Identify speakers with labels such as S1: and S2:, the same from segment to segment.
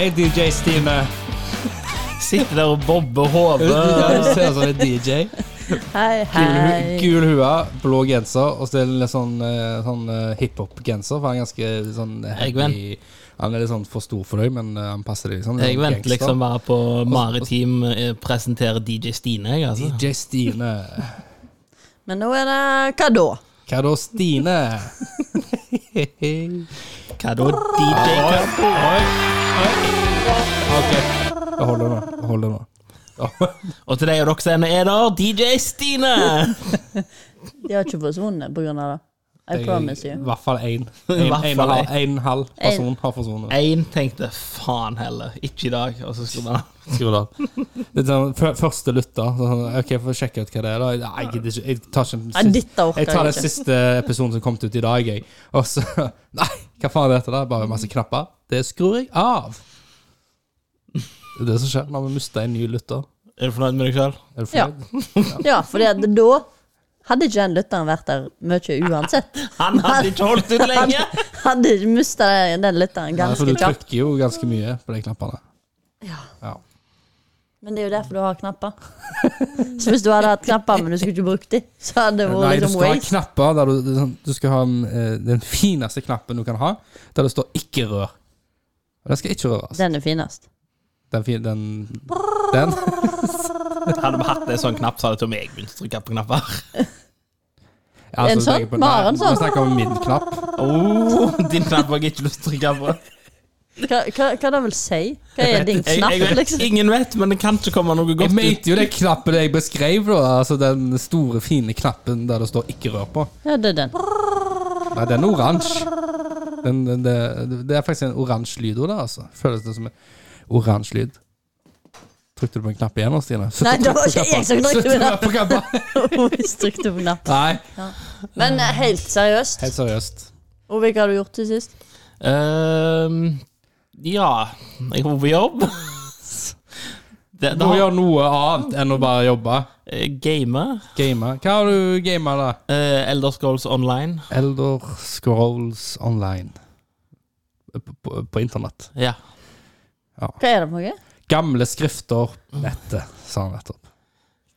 S1: i DJ-steamet.
S2: Sitter der og bobber hodet.
S1: Ja, du ser ut som en DJ.
S3: Hei,
S1: Gul,
S3: hei.
S1: gul hue, blå genser, og så er det litt sånn, eh, sånn eh, hiphop-genser. For han er ganske sånn
S2: Jeg
S1: heavy. Han er litt sånn for stor for deg, men eh, han passer deg. Sånn,
S2: Jeg
S1: litt
S2: venter
S1: gangster.
S2: liksom bare på Maritim eh, presenterer DJ Stine, jeg, altså.
S1: DJ Stine.
S3: Men nå er det hva da?
S1: Hva da, Stine?
S2: Hva da, DJ?
S1: OK, det holder nå. Det holder nå.
S2: Og til deg og dere som er der, DJ Stine!
S3: De har ikke forsvunnet på grunn av det. I promise
S1: I
S3: you.
S1: hvert fall én.
S2: I hvert fall en.
S1: En halv person har forsvunnet.
S2: Én tenkte faen heller, ikke i dag. Og så skulle man
S1: Skru det av. Det er sånn, fø- første lytter. så Sånn, ok, jeg får sjekke ut hva det er. da. Nei, jeg, gidder ikke, jeg tar ikke den
S3: Nei,
S1: siste-
S3: dette orker
S1: Jeg tar den
S3: jeg ikke.
S1: siste episoden som kom ut i dag, jeg. Og så Nei, hva faen er dette der? Bare masse knapper. Det skrur jeg av. Det er det som skjer når vi mister en ny lytter.
S2: Er du fornøyd med deg sjøl?
S1: Er du
S3: Ja.
S1: fornøyd?
S3: ja, fordi at da hadde ikke den lytteren vært der mye uansett.
S2: Han hadde ikke holdt ut lenge!
S3: Hadde mista den lytteren
S1: Nei,
S3: ganske
S1: for du
S3: kjapt.
S1: trykker jo ganske mye på de knappene. Ja.
S3: Men det er jo derfor du har knapper. Så hvis du hadde hatt knapper, men du skulle ikke brukt dem, så hadde det
S1: Nei,
S3: vært
S1: du
S3: liksom
S1: skal ha
S3: waste.
S1: knapper der du, det er sånn- du skal ha den, eh, den fineste knappen du kan ha, der det står 'ikke rør'. Og Den skal ikke røres.
S3: Den er finest.
S1: Den, fin- den, den.
S2: Hadde vi hatt en sånn knapp, så hadde til og med jeg begynt å trykke på knapper.
S1: Ja,
S3: En
S1: så altså, tenker
S3: sånn?
S1: jeg på-
S3: Bare en
S1: Nei,
S3: sånn?
S1: Vi snakker om min knapp.
S2: Oh, din knapp har jeg ikke lyst til å trykke på.
S3: Hva, hva, hva det vil si? Hva er din
S2: Jeg,
S3: knapp,
S2: jeg vet,
S3: liksom?
S2: Ingen vet, men det kan ikke komme noe
S1: Jeg
S2: godt ut.
S1: mente jo den knappen jeg beskrev, da. Altså den store, fine knappen der det står 'ikke rør' på.
S3: Ja, det er den.
S1: Nei, den er oransje. Den, den, det, det er faktisk en oransje lyd òg, da. Altså. Føles det som en oransje lyd. Trykte du på en knapp igjen nå, Stine? Slutt å
S3: Nei, det var
S1: trykke på
S3: ikke jeg som
S1: knappen.
S3: trykte på
S1: Slutt å trykke på knappen.
S3: Hvis trykte på knappen.
S1: Nei,
S3: Men eh, helt seriøst,
S1: helt seriøst.
S3: Ove, hva har du gjort til sist?
S2: Ehm, ja Jeg var på jobb. Det,
S1: Du
S2: det
S1: må
S2: har,
S1: gjøre noe annet enn å bare jobbe.
S2: eh, gamer.
S1: Game. Hva har du gama, da?
S2: Eh, Elder Scrolls Online.
S1: Elder Scrolls Online. På, på, på internett.
S2: Ja.
S3: Hva er det for noe?
S1: Gamle skrifter på nettet, sa han nettopp.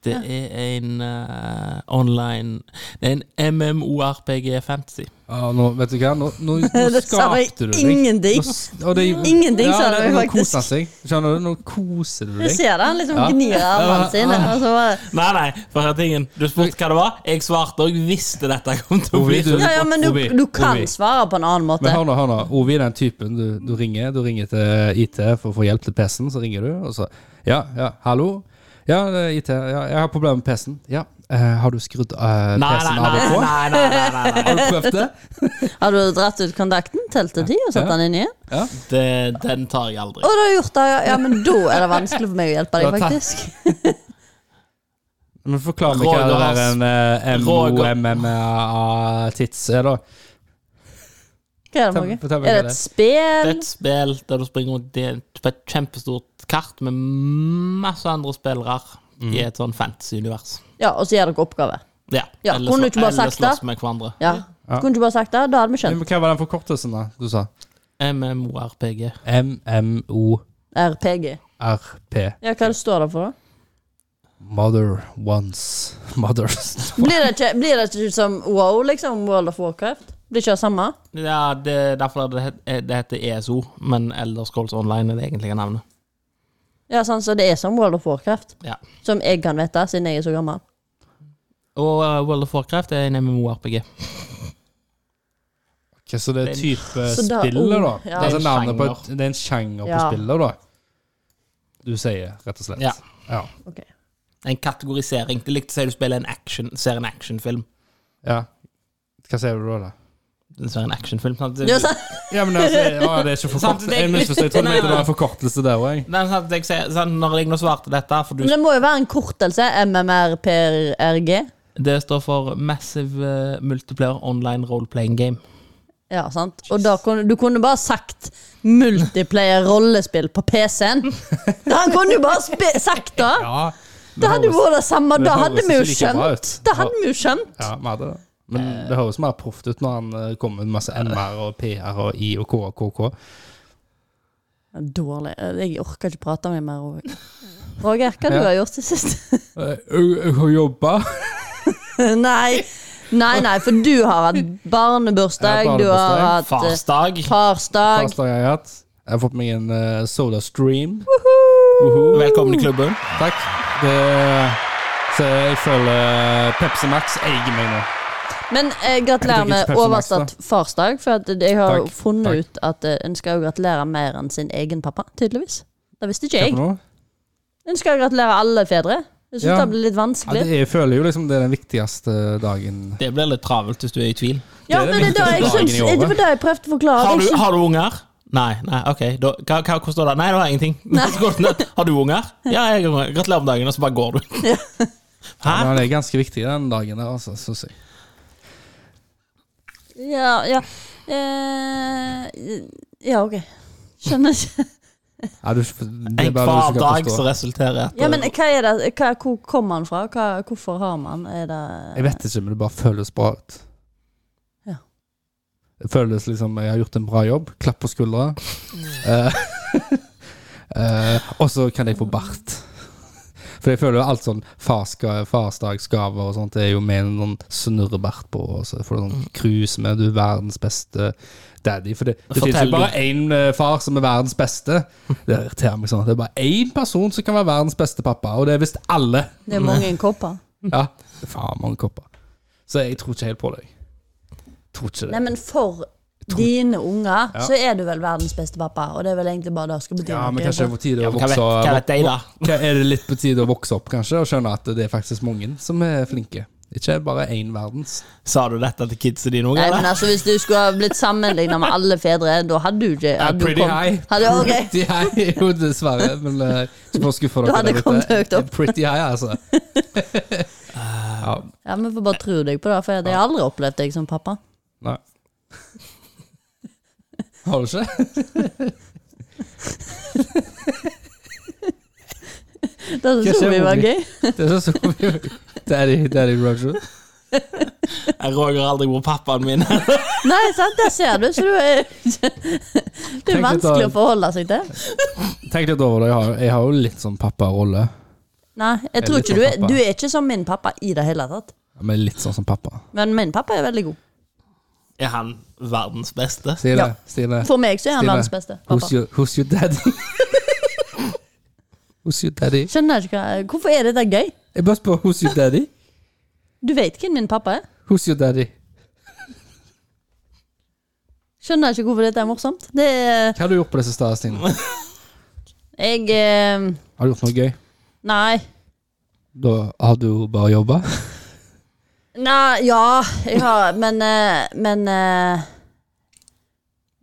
S2: Det er en eh, online Det er en MMORPG fantasy.
S1: Ja, nå, vet du hva, nå, nå, nå
S3: Det sa meg
S1: skapte du deg.
S3: ingenting.
S1: Nå s- og det-
S3: Ingenting sa
S1: det-
S3: det
S1: nå
S3: faktisk.
S1: koser han seg. Skjønner du? Nå koser du
S3: Du
S1: deg.
S3: ser det, han liksom
S1: Ja.
S3: gnir armene sine. Og så bare,
S2: Nei, nei, for her tingen Du spurte hva det var. Jeg svarte, og jeg visste dette kom til å bli
S1: Ovi, du-
S3: ja, ja, men du,
S1: Ovi,
S3: du kan
S1: Ovi.
S3: svare på en annen måte.
S1: Men hør nå, hør nå. Ovi er den typen du, du ringer. Du ringer til IT for å få hjelp til PC-en, så ringer du, og så Ja, ja, hallo? Ja, det er IT. Ja, jeg har problemer med PC-en. Ja. eh, har du skrudd eh,
S2: Nei, nei,
S1: PC-en av og
S2: nei.
S1: på?
S2: nei, nei, nei, nei, nei.
S1: Har du prøvd det?
S3: Har du dratt ut kontakten, telt til ti og satt
S1: Ja.
S3: den inn igjen?
S2: Det, den tar jeg aldri.
S3: Å, du har gjort det, ja. ja. Men da er det vanskelig for meg å hjelpe
S1: Ja,
S3: deg,
S1: takk.
S3: faktisk.
S1: Men forklar meg hva det
S2: Roger
S1: der en eh,
S2: Roger.
S1: MOMMA-tits er, da.
S3: Hva er det
S1: Ta-
S3: for noe?
S1: ta med
S3: Er det
S1: det.
S3: et
S2: Det er
S3: spill?
S2: et spill der du springer rundt i et- på et kjempestort kart med masse andre spillere
S1: Mm.
S2: i et sånn fantasy-univers.
S3: Ja, og så gjør dere oppgaver.
S2: Ja.
S3: Ja,
S2: eller
S3: kunne du
S2: slå-
S3: ikke bare
S2: eller
S3: sagt det?
S2: slåss med hverandre.
S3: Ja.
S1: Ja.
S3: Kunne du ikke bare sagt det? Da hadde vi
S1: Men
S3: skjønt.
S1: Hva var den forkortelsen, da? Du sa
S2: MMORPG.
S1: MMORP.
S3: RPG. Ja, hva står det for, da?
S1: Mother once. Mothers.
S3: Blir det ikke, blir det ikke som wow, liksom? World of Warcraft? Blir ikke det samme?
S2: Ja, det er derfor det, het- eh, det heter ESO, men Elder Scrolls Online er det egentlige navnet.
S3: Ja, sant, så det er som World of Warcraft.
S2: Ja.
S3: Som jeg kan vite, siden jeg er så gammel.
S2: Og uh, World of Warcraft er en MMO-RPG.
S1: Ok, så det er type
S3: Så da-
S1: spiller, da?
S3: oh, ja.
S1: Det er altså
S2: Det er en
S1: navnet på
S2: sjanger.
S1: et, det er en sjanger på
S3: Ja.
S1: spiller, da? Du sier, rett og slett.
S2: Ja.
S1: Ja.
S3: Ok.
S2: En kategorisering. Det er likt å si du spiller en action, ser en actionfilm.
S1: ja. Hva sier du da, da?
S2: Du ser en actionfilm sant?
S3: Ja, sant?
S1: Ja, men altså, å, det er ikke
S2: Sant,
S1: forkortelse.
S2: det er-
S1: Jeg misforstod. Jeg trodde
S2: Nei,
S1: det var
S2: nei.
S1: en forkortelse der òg.
S2: Nei, sant, jeg ser, sant, når jeg nå svarte dette for du,
S3: Men det må jo være en kortelse. MMRPRG.
S2: Det står for Massive eh, Multiplayer Online Role-Playing Game.
S3: Ja, sant? Og da kunne, du kunne bare sagt multiplayer rollespill på PC-en. Han kunne jo bare spe- sagt det!
S1: Ja,
S3: Det hadde jo vært det samme.
S1: det
S3: Da
S1: høres
S3: hadde vi jo
S1: ikke like bra
S3: skjønt.
S1: ut.
S3: Da hadde vi jo skjønt.
S1: Ja, vi hadde det. Men det høres mer eh, proft ut når han eh, kommer med masse MR og PR og I og K og KK.
S3: Dårlig. Jeg orker ikke prate med deg mer. Roger. Roger, hva du
S1: Ja.
S3: har gjort det siste?
S1: Eh, Jeg jeg har jobba.
S3: nei. nei, nei, for du har hatt barnebursdag,
S1: Ja,
S3: du har
S1: barnebursdag.
S3: hatt eh,
S2: Farsdag.
S3: farsdag.
S1: Farsdag har jeg hatt. Jeg har fått meg en eh, Soda Stream. Uhu.
S2: Velkommen i klubben.
S1: Takk. Det, så jeg føler eh, Pepsi Max eier meg nå.
S3: Men eh, gratulerer
S1: Jeg drikker
S3: med
S1: ikke Pepsi Max, da.
S3: overstått farsdag, for at jeg har jo
S1: Takk,
S3: funnet
S1: takk.
S3: ut at eh, en skal jo gratulere mer enn sin egen pappa, tydeligvis. Det visste ikke
S1: Hva for
S3: jeg.
S1: noe?
S3: En skal gratulere alle fedre. Jeg syns
S1: Ja.
S3: det blir litt
S1: Ja, det,
S3: vanskelig.
S1: jeg føler jo liksom det er den viktigste dagen.
S2: Det blir litt travelt hvis du er i tvil.
S3: Ja,
S1: det er
S3: men det
S1: den
S3: er da jeg
S1: viktigste dagen
S3: syns
S1: i året.
S3: Det var det jeg prøvde å forklare.
S2: Har du,
S3: Jeg syns-
S2: har du unger? Nei, nei, ok. Da, hva, hva, hvordan står det? Nei, det var ingenting. Så går det ned. Har du unger? Ja, jeg har unger. Gratulerer med dagen, og så bare går du. Hæ?
S1: Ja, det er ganske viktig den dagen der, altså, syns jeg.
S3: Ja, ja. Eh, ja, OK. Skjønner ikke.
S1: Ja, du, det er bare du som
S2: En
S1: kan
S2: hverdag som
S1: forstå.
S2: resulterer i at eh,
S3: Ja, men hva er det, hva, hvor kommer han fra? Hva, hvorfor har man Er det
S1: Jeg vet ikke, men det bare føles bra ut.
S3: Ja.
S1: Det føles liksom jeg har gjort en bra jobb. Klapp på skuldra. Eh, eh, og så kan jeg få bart. For jeg føler jo alt sånn farska- farsdagsgaver og sånt, det er jo med en sånn snurrebart på. Og så får du sånn cruise med du er verdens beste daddy. For det, det
S2: Fortell
S1: finnes jo
S2: du.
S1: bare én eh, far som er verdens beste. Det irriterer meg sånn. Det er bare én person som kan være verdens beste pappa, og det er visst alle.
S3: Det er mange kopper.
S1: Ja, det er faen mange kopper. Så jeg tror ikke helt på deg. Tror ikke det.
S3: Nei, men for dine unger
S1: Ja.
S3: så er du vel verdens beste pappa, og det er vel egentlig bare det som skal bety
S1: ja,
S3: noe.
S1: men kanskje det er på tide
S2: Ja,
S1: å
S2: men hva vet,
S1: vokse
S2: hva vet jeg, da?
S1: Hva Er det litt på tide å vokse opp, kanskje, og skjønne at det er faktisk mange som er flinke? Ikke bare én verdens.
S2: Sa du dette til kidsa dine òg,
S3: Nei, men
S2: eller?
S3: altså Hvis du skulle ha blitt sammenligna med alle fedre, da hadde du ikke
S1: Ja,
S3: hadde du
S1: pretty
S3: kom-
S1: high.
S3: Hadde, ok.
S1: Pretty high, jo, dessverre. Men eh, ikke for å skuffe
S3: Du
S1: dere
S3: hadde
S1: der ute.
S3: kommet høyt opp.
S1: Pretty high, altså. ja,
S3: Ja, men får bare tro deg på det, for jeg har aldri opplevd deg som pappa.
S1: nei. Har du ikke?
S3: Det
S1: Hva
S3: syns
S1: skjer
S3: vi var
S1: med
S3: gøy.
S1: Det er så mye Daddy, daddy Roger.
S2: Jeg Roger aldri hvor pappaen min er.
S3: Nei, sant, der ser du, så du er Det
S1: Tenk
S3: er
S1: litt
S3: vanskelig
S1: av-
S3: å forholde seg til.
S1: Tenk litt over det. Jeg har, jeg har jo litt sånn papparolle.
S3: Nei, jeg
S1: er
S3: tror
S1: litt
S3: ikke
S1: som
S3: du er
S1: pappa.
S3: Du er ikke som min pappa i det hele tatt.
S1: Men litt sånn som pappa.
S3: Men min pappa er veldig god.
S2: Er han verdens beste?
S1: Stine,
S3: Ja.
S1: Stine.
S3: For meg så er han
S1: Stine,
S3: verdens beste pappa.
S1: Who's your, who's your daddy? who's your daddy?
S3: Skjønner ikke hva Hvorfor er dette gøy?
S1: Jeg bare spør who's your daddy?
S3: Du vet hvem min pappa er.
S1: Who's your daddy?
S3: Skjønner ikke hvorfor dette er morsomt. Det er
S1: Hva har du gjort på det siste, Stine?
S3: Jeg eh,
S1: Har du gjort noe gøy?
S3: Nei.
S1: Da har du bare jobba.
S3: Nei, ja, jeg har Men, eh, men eh,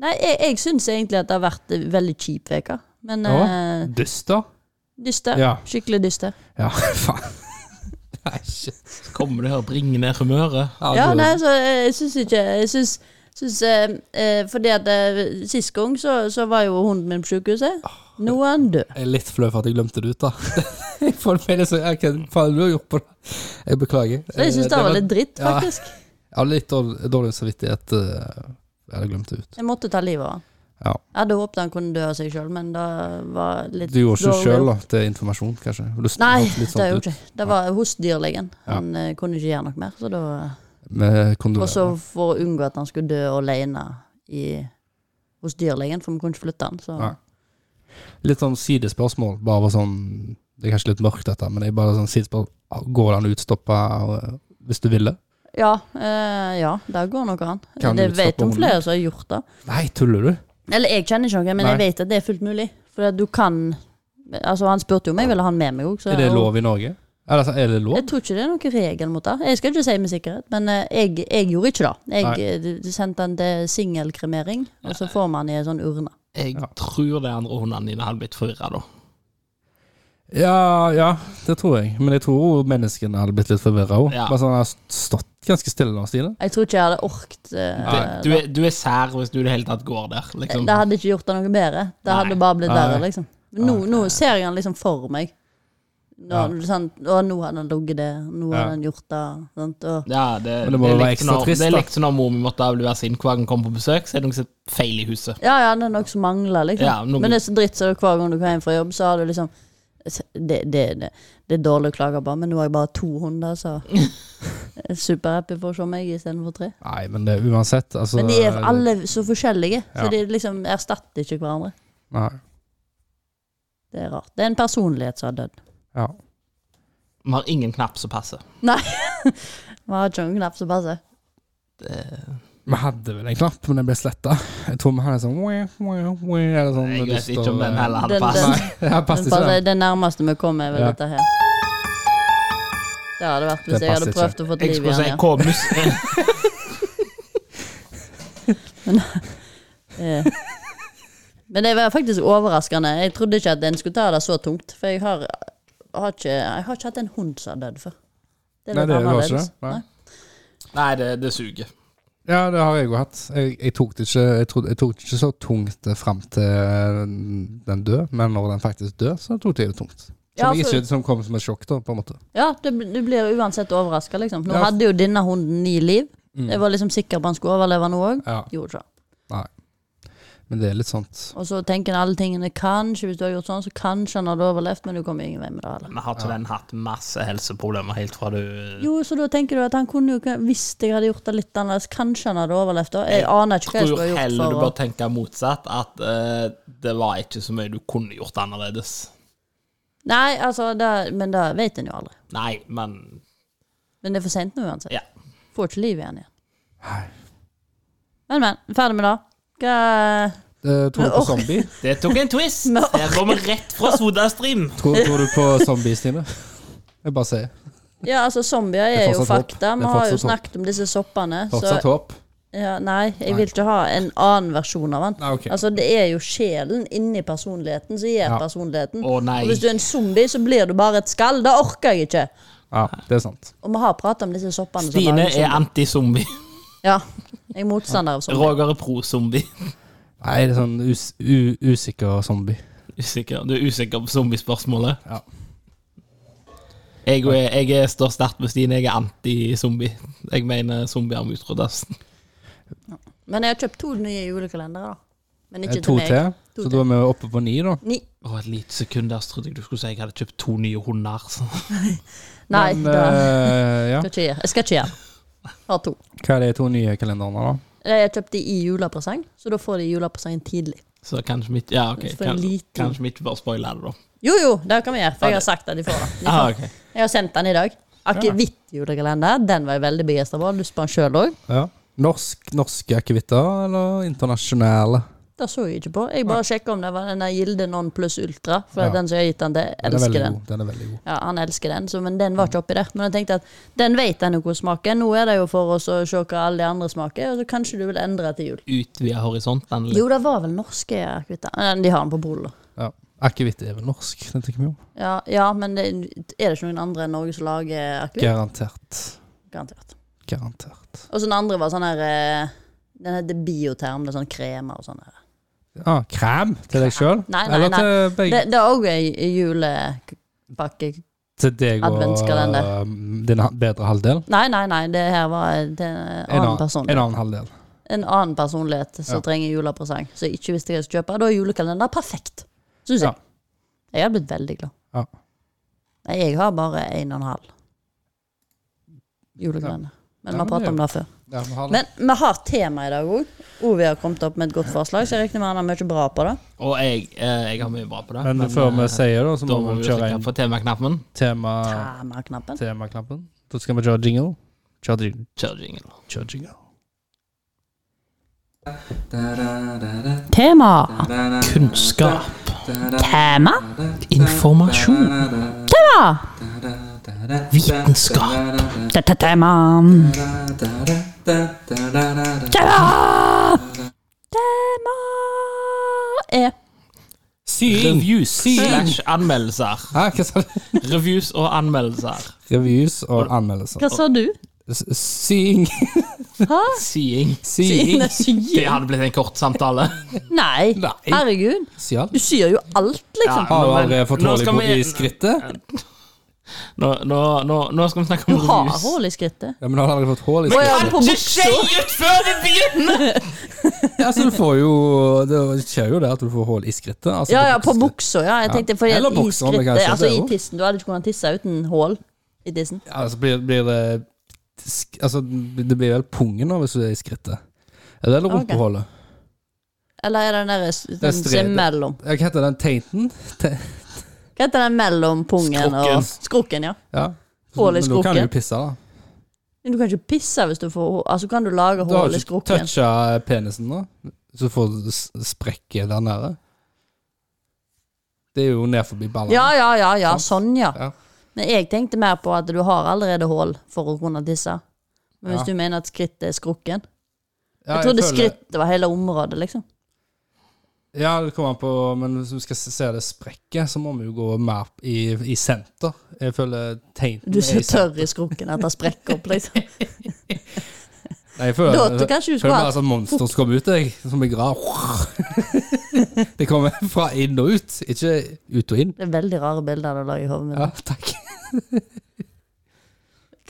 S3: Nei, jeg, jeg syns egentlig at det har vært en veldig kjip uke. Men
S1: Ja.
S3: eh,
S1: Dyster?
S3: dyster.
S1: Ja.
S3: Skikkelig dyster.
S1: Ja, faen. Nei, shit.
S2: Så kommer det her og bringer ned humøret.
S3: Ja,
S1: du-
S3: nei, så eh, jeg syns ikke Jeg syns Synes, eh, eh, fordi at eh, Sist gang så, så var jo hunden min på sykehuset.
S1: Ah.
S3: Nå er han død.
S1: Jeg er litt flau for at jeg glemte det ut, da. jeg får det med, så, ja, hva faen du har gjort på det? Jeg beklager.
S3: Så jeg
S1: Eh,
S3: syns det var litt dritt,
S1: ja.
S3: faktisk.
S1: Jeg hadde litt dårlig, dårlig samvittighet. eh, Jeg hadde glemt det ut.
S3: Jeg måtte ta livet av han.
S1: Ja.
S3: Jeg hadde håpet han kunne dø av seg sjøl, men det var litt
S1: Du gjorde ikke
S3: dårlig.
S1: sjøl, da? Til informasjon, kanskje? Du snakket
S3: Nei, det
S1: litt sånn sånt ut.
S3: gjorde ikke Det var hos dyrlegen.
S1: Ja.
S3: Han eh, kunne ikke gjøre noe mer. Så da,
S1: Med kondomer.
S3: også for å unngå at han skulle dø alene i, hos dyrlegen, for vi kunne ikke flytte han. Så.
S1: Nei. Litt sånn sidespørsmål. Bare var sånn Det er kanskje litt mørkt, dette, men det er bare sånn sidespørsmål. Går det an å utstoppe eh, hvis du ville?
S3: Ja, eh, ja, det går nok an.
S1: Kan du
S3: det
S1: utstoppe
S3: vet om
S1: hunden?
S3: flere som har gjort det.
S1: Nei, tuller du?
S3: Eller jeg kjenner ikke noen, men
S1: Nei.
S3: jeg vet at det er fullt mulig. For at du kan Altså, han spurte jo om jeg ville ha han med meg òg.
S1: Er det lov i Norge? Eller altså, er det lov?
S3: Jeg tror ikke det er noen regel mot det. Jeg skal ikke si med sikkerhet, men eh, jeg, jeg gjorde ikke det. Jeg
S1: Nei.
S3: eh, du- du sendte han til singelkremering, og så får man i en sånn urne.
S2: Jeg
S1: Ja.
S2: tror de andre hundene dine hadde blitt forvirra da.
S1: Ja, ja, det tror jeg. Men jeg tror menneskene hadde blitt litt forvirra òg.
S2: Ja.
S1: Bare sånn har stått ganske stille nå, Stine.
S3: Jeg tror ikke jeg hadde orket eh,
S1: Nei.
S2: Du er, du er sær hvis du i det hele tatt går der, liksom.
S3: Det hadde ikke gjort det noe bedre. Det
S2: Nei.
S3: hadde bare blitt
S1: Nei.
S3: verre, liksom. Nå, nå ser jeg han liksom for meg. Nå, sant? Og nå hadde han ligget der, nå
S1: Ja.
S3: hadde han gjort det. Sant? Og,
S2: Ja, det,
S1: Men det må jo være
S2: likte
S1: ekstra
S2: når,
S1: trist,
S2: det
S1: da.
S2: likte når mor mi måtte avlivere sin hver gang hun kom på besøk, så er det noe som er feil i huset.
S3: ja, ja, det er noe som mangler, liksom.
S2: Ja, noe-
S3: Men det er så dritt så hver gang du kommer hjem fra jobb, så har du liksom det, det, det, det er dårlig å klage på, men nå har jeg bare to hunder, så jeg er superhappy for å se meg istedenfor tre.
S1: Nei, men det, uansett, altså
S3: Men de er alle så forskjellige, så
S1: Ja.
S3: de liksom erstatter ikke hverandre.
S1: Nei.
S3: Det er rart. Det er en personlighet som har dødd.
S1: Ja.
S2: Vi har ingen knapp som passer.
S3: Vi har ikke noen knapp som passer.
S2: Det,
S1: Vi hadde vel en knapp, men den ble sletta. Jeg tror vi hadde en sånn, wah, wah, wah, eller sånn
S2: jeg vet
S1: dyster-
S2: ikke om den heller hadde
S3: Den-
S2: passet.
S1: Nei, jeg
S3: Den
S1: passet ikke
S3: passer,
S1: den.
S3: det nærmeste vi kommer, er vel
S1: Ja.
S3: dette her. Det hadde vært hvis
S1: Det
S3: jeg hadde
S1: passer
S3: prøvd å få
S2: Jeg
S3: liv i
S2: skulle si
S3: den.
S2: hva mus-
S3: Ja. Eh. Men det var faktisk overraskende. Jeg trodde ikke at en skulle ta det så tungt. For jeg har, har, ikke, jeg har ikke hatt en hund som har dødd før. Det
S1: Nei,
S3: litt
S1: det har jeg
S3: annerledes.
S1: ikke. Nei.
S3: Nei.
S2: Nei, det, det suger.
S1: Ja, det har jeg jo hatt. Jeg, jeg, tok det ikke, jeg, trodde, jeg tok det ikke så tungt eh, fram til den døde, men når den faktisk dør, så tok det jo tungt. Som,
S3: Ja, altså-
S1: jeg
S3: for-
S1: ikke, som kom som et sjokk, da, på en måte.
S3: Ja, du, bl- du blir uansett overraska, liksom. Nå
S1: Ja. Mm.
S3: hadde jo denne hunden ni liv. Jeg var liksom sikker på han skulle overleve nå òg.
S1: Ja,
S3: Gjorde ikke det.
S1: men det er litt sånt.
S3: Og så tenker en alle tingene kanskje, hvis du har gjort sånn, så kanskje han hadde overlevd, men du kommer ingen vei med det. heller.
S2: Men har ikke den hatt masse helseproblemer helt fra du
S3: Jo, så da tenker du at han kunne jo ikke Hvis jeg hadde gjort det litt annerledes, kanskje han hadde overlevd da? Jeg aner ikke hva jeg
S2: tror
S3: skulle ha gjort
S2: heller du
S3: for å
S2: bør tenke motsatt, at eh, det var ikke så mye du kunne gjort annerledes.
S3: Nei, altså, det, men det vet en jo aldri.
S2: Nei, men
S3: Men det er for seint nå uansett.
S2: Ja.
S3: Får ikke liv i han igjen.
S1: Nei.
S3: Men, men. Ferdig med det. Hva
S1: Eh, tror du på
S3: Men ork-
S1: zombie?
S2: det tok en twist!
S3: Men orker-
S2: Der går vi rett fra SodaStream.
S1: Tror, tror du på zombie, Stine? Jeg bare sier.
S3: Ja, altså, zombier
S1: Det er
S3: er jo
S1: fortsatt håp.
S3: fakta.
S1: Det er
S3: Vi har jo
S1: fortsatt håp.
S3: snakket om disse soppene. Så
S1: Fortsatt håp.
S3: ja, nei, jeg
S1: Nei.
S3: vil ikke ha en annen versjon av han.
S1: Nei, ok.
S3: Altså, det er jo sjelen inni personligheten som gjør
S1: Ja.
S3: personligheten.
S2: Å nei.
S3: Og hvis du er en zombie, så blir du bare et skall. Det orker jeg ikke.
S1: Ja, det er sant.
S3: Og vi har pratet om disse soppene. som
S2: Stine
S3: lager
S2: er
S3: zombier.
S2: anti-zombie.
S3: Ja. Jeg er motstander av sånt.
S2: Roger er pro-zombie.
S1: Nei, det er sånn us u usikker zombie.
S2: Usikker. Du er usikker på zombiespørsmålet?
S1: Ja.
S2: Jeg, er- jeg er- står sterkt med Stine. Jeg er anti-zombie. Jeg mener zombier må utryddes.
S3: Men jeg har kjøpt to nye julekalendere, da. Men
S1: Eh,
S3: ikke
S1: To
S3: til meg.
S1: til,
S3: To til.
S1: så da er vi oppe på ni, da.
S3: Ni.
S2: Å, et lite sekund der så trodde jeg du skulle si jeg hadde kjøpt to nye hunder. så.
S3: Nei,
S1: Men,
S3: det
S1: eh, ja.
S3: skal ikke gjøre. Jeg skal ikke gjøre det. Har to.
S1: Hva er de to nye kalenderne, da?
S3: Jeg kjøpte de i julepresang, så da får de julepresangen tidlig.
S2: Så kanskje vi ikke Ja, ok.
S3: For en
S2: Kan,
S3: liten-
S2: kanskje vi ikke bør spoile det, da.
S3: Jo, jo, det kan vi gjøre, for jeg har sagt at de får det. De
S2: Ah,
S3: får.
S2: ok.
S3: det. Jeg har sendt den i dag. Akevitt julekalender, den var jeg veldig begeistra for. Har Lyst på den sjøl òg.
S1: Ja. Norsk, norske akevitter eller internasjonale?
S3: Det så jeg ikke på. Jeg bare sjekka om det var den der Gilde Non pluss Ultra, for
S1: Ja.
S3: den som jeg har gitt den til,
S1: Den er
S3: elsker
S1: veldig
S3: den.
S1: god. Den er veldig god.
S3: Ja, han elsker den, så, men den var ikke oppi der. Men jeg tenkte at den vet den jo hvor smaker. Nå er det jo for oss å se hva alle de andre smaker, og så kanskje du vil endre til jul.
S2: Utvide horisonten litt.
S3: Jo, det var vel norske akevitter. Eh, De har den på Polet, da.
S1: Ja. Akevitt er vel norsk, det tenker vi jo.
S3: Ja, ja, men det, er det ikke noen andre enn Norge som lager akevitt?
S1: Garantert.
S3: Garantert.
S1: Garantert.
S3: Og så den andre var sånn her eh, Den heter bioterm, det er sånn kremer og sånn. her.
S1: Ah, krem til deg sjøl?
S3: Nei, nei,
S1: Eller til begge?
S3: Det, det er òg ei julepakke
S1: Til deg og
S3: Adventskalender.
S1: um, din ha- bedre halvdel?
S3: Nei, nei, nei, det her var det er en
S1: En
S3: annen
S1: annen,
S3: person.
S1: en annen halvdel.
S3: en annen personlighet som
S1: Ja.
S3: trenger julepresang, som jeg ikke visste hva jeg skulle kjøpe. Da er julekalender perfekt, syns
S1: Ja.
S3: jeg. Jeg har blitt veldig glad.
S1: Ja.
S3: Nei, jeg har bare én og en halv julekalender. Men vi
S1: Ja, men
S3: har pratet
S1: det er
S3: om det før.
S1: Ja, vi har det.
S3: Men vi har tema i dag òg. Ovi har kommet opp med et godt forslag, så jeg regner med han har mye bra på det.
S2: Og jeg, eh, jeg har mye bra på det.
S1: Men før vi
S2: eh,
S1: sier det, så
S2: da
S1: må
S2: må
S1: vi
S2: vi jo
S1: kjøre
S2: trykke
S1: inn
S2: på temaknappen.
S1: tema,
S3: Tema-knappen.
S1: temaknappen. Da skal vi kjøre jingle. Kjøre jingle.
S2: Kjør jingle.
S1: Kjøre jingle.
S3: Tema.
S2: Kunnskap.
S3: Tema.
S2: Informasjon. Vitenskap.
S3: Dette er tema. Tema. Tema E, er
S1: Syring.
S2: Reviews slash anmeldelser.
S1: Hæ, hva sa du?
S2: Reviews og anmeldelser.
S1: Reviews og anmeldelser.
S3: Hva sa du?
S1: S- Sying.
S3: Hæ?
S2: Seeing.
S1: Sying.
S2: Det hadde blitt en kort samtale.
S3: Nei.
S1: Nei.
S3: Herregud.
S1: Sial.
S3: Du sier jo alt, liksom.
S2: Ja,
S1: Har du
S2: men-
S1: aldri fått
S2: Nå
S1: hull i
S2: skal
S1: bo-
S2: vi-
S1: i skrittet?
S2: Nå, nå, nå, nå skal vi snakke
S3: Du
S2: om
S3: har
S2: rus.
S3: hull i skrittet.
S1: Ja, men har aldri fått hull i
S3: Å, ja.
S1: skrittet.
S3: på
S2: Ikke
S3: buksa.
S2: si ut før vi begynner!
S1: Ja, så du får jo Det skjer jo det at du får hull i skrittet. Altså
S3: Ja, ja, på buksa. Ja, jeg tenkte fordi at
S1: Eller
S3: i
S1: buksa, men
S3: skrittet,
S1: kanskje
S3: altså
S1: det
S3: i
S1: også.
S3: tissen. Du hadde ikke kunnet tisse uten hull i tissen.
S1: Ja, altså blir, blir det sk- Altså, det blir vel pungen nå hvis du er i skrittet. Er det eller
S3: Ok.
S1: rumpehullet?
S3: Eller er det den der den som er
S1: stredet.
S3: mellom?
S1: Ja, Hva heter den teinten? Te
S3: Hva heter den mellom pungen
S2: Skrukken.
S3: og Skrukken, ja.
S1: ja.
S3: Hull i
S1: Men da kan du
S3: skrukken.
S1: jo pisse, da.
S3: Men Du kan ikke pisse hvis du får Altså kan du lage
S1: Du har
S3: hull i
S1: ikke
S3: skrukken.
S1: toucha penisen, da? Så får du s- sprekke der nede. Det er jo ned forbi ballene.
S3: Ja, ja, ja, ja, sånn, ja.
S1: Ja.
S3: Men jeg tenkte mer på at du har allerede hull for å kunne tisse. Men hvis
S1: Ja.
S3: du mener at skrittet er skrukken
S1: Ja,
S3: Jeg trodde
S1: føler-
S3: skrittet var hele området, liksom.
S1: Ja, det kommer an på Men hvis vi skal se det sprekket, så må vi jo gå mer i, i senter. Jeg føler teinten
S3: Du
S1: er
S3: er så
S1: i senter.
S3: tørr i skrukken at det sprekker opp, liksom.
S1: Nei, jeg føler,
S3: Da t- kanskje du
S1: føler
S3: skulle
S1: bare
S3: hatt
S1: sånn monster som kommer ut, jeg. Som jeg grav. det kommer fra inn og ut, ikke ut og inn.
S3: Det er veldig rare bilder du lager i hodet mitt.
S1: Ja, takk.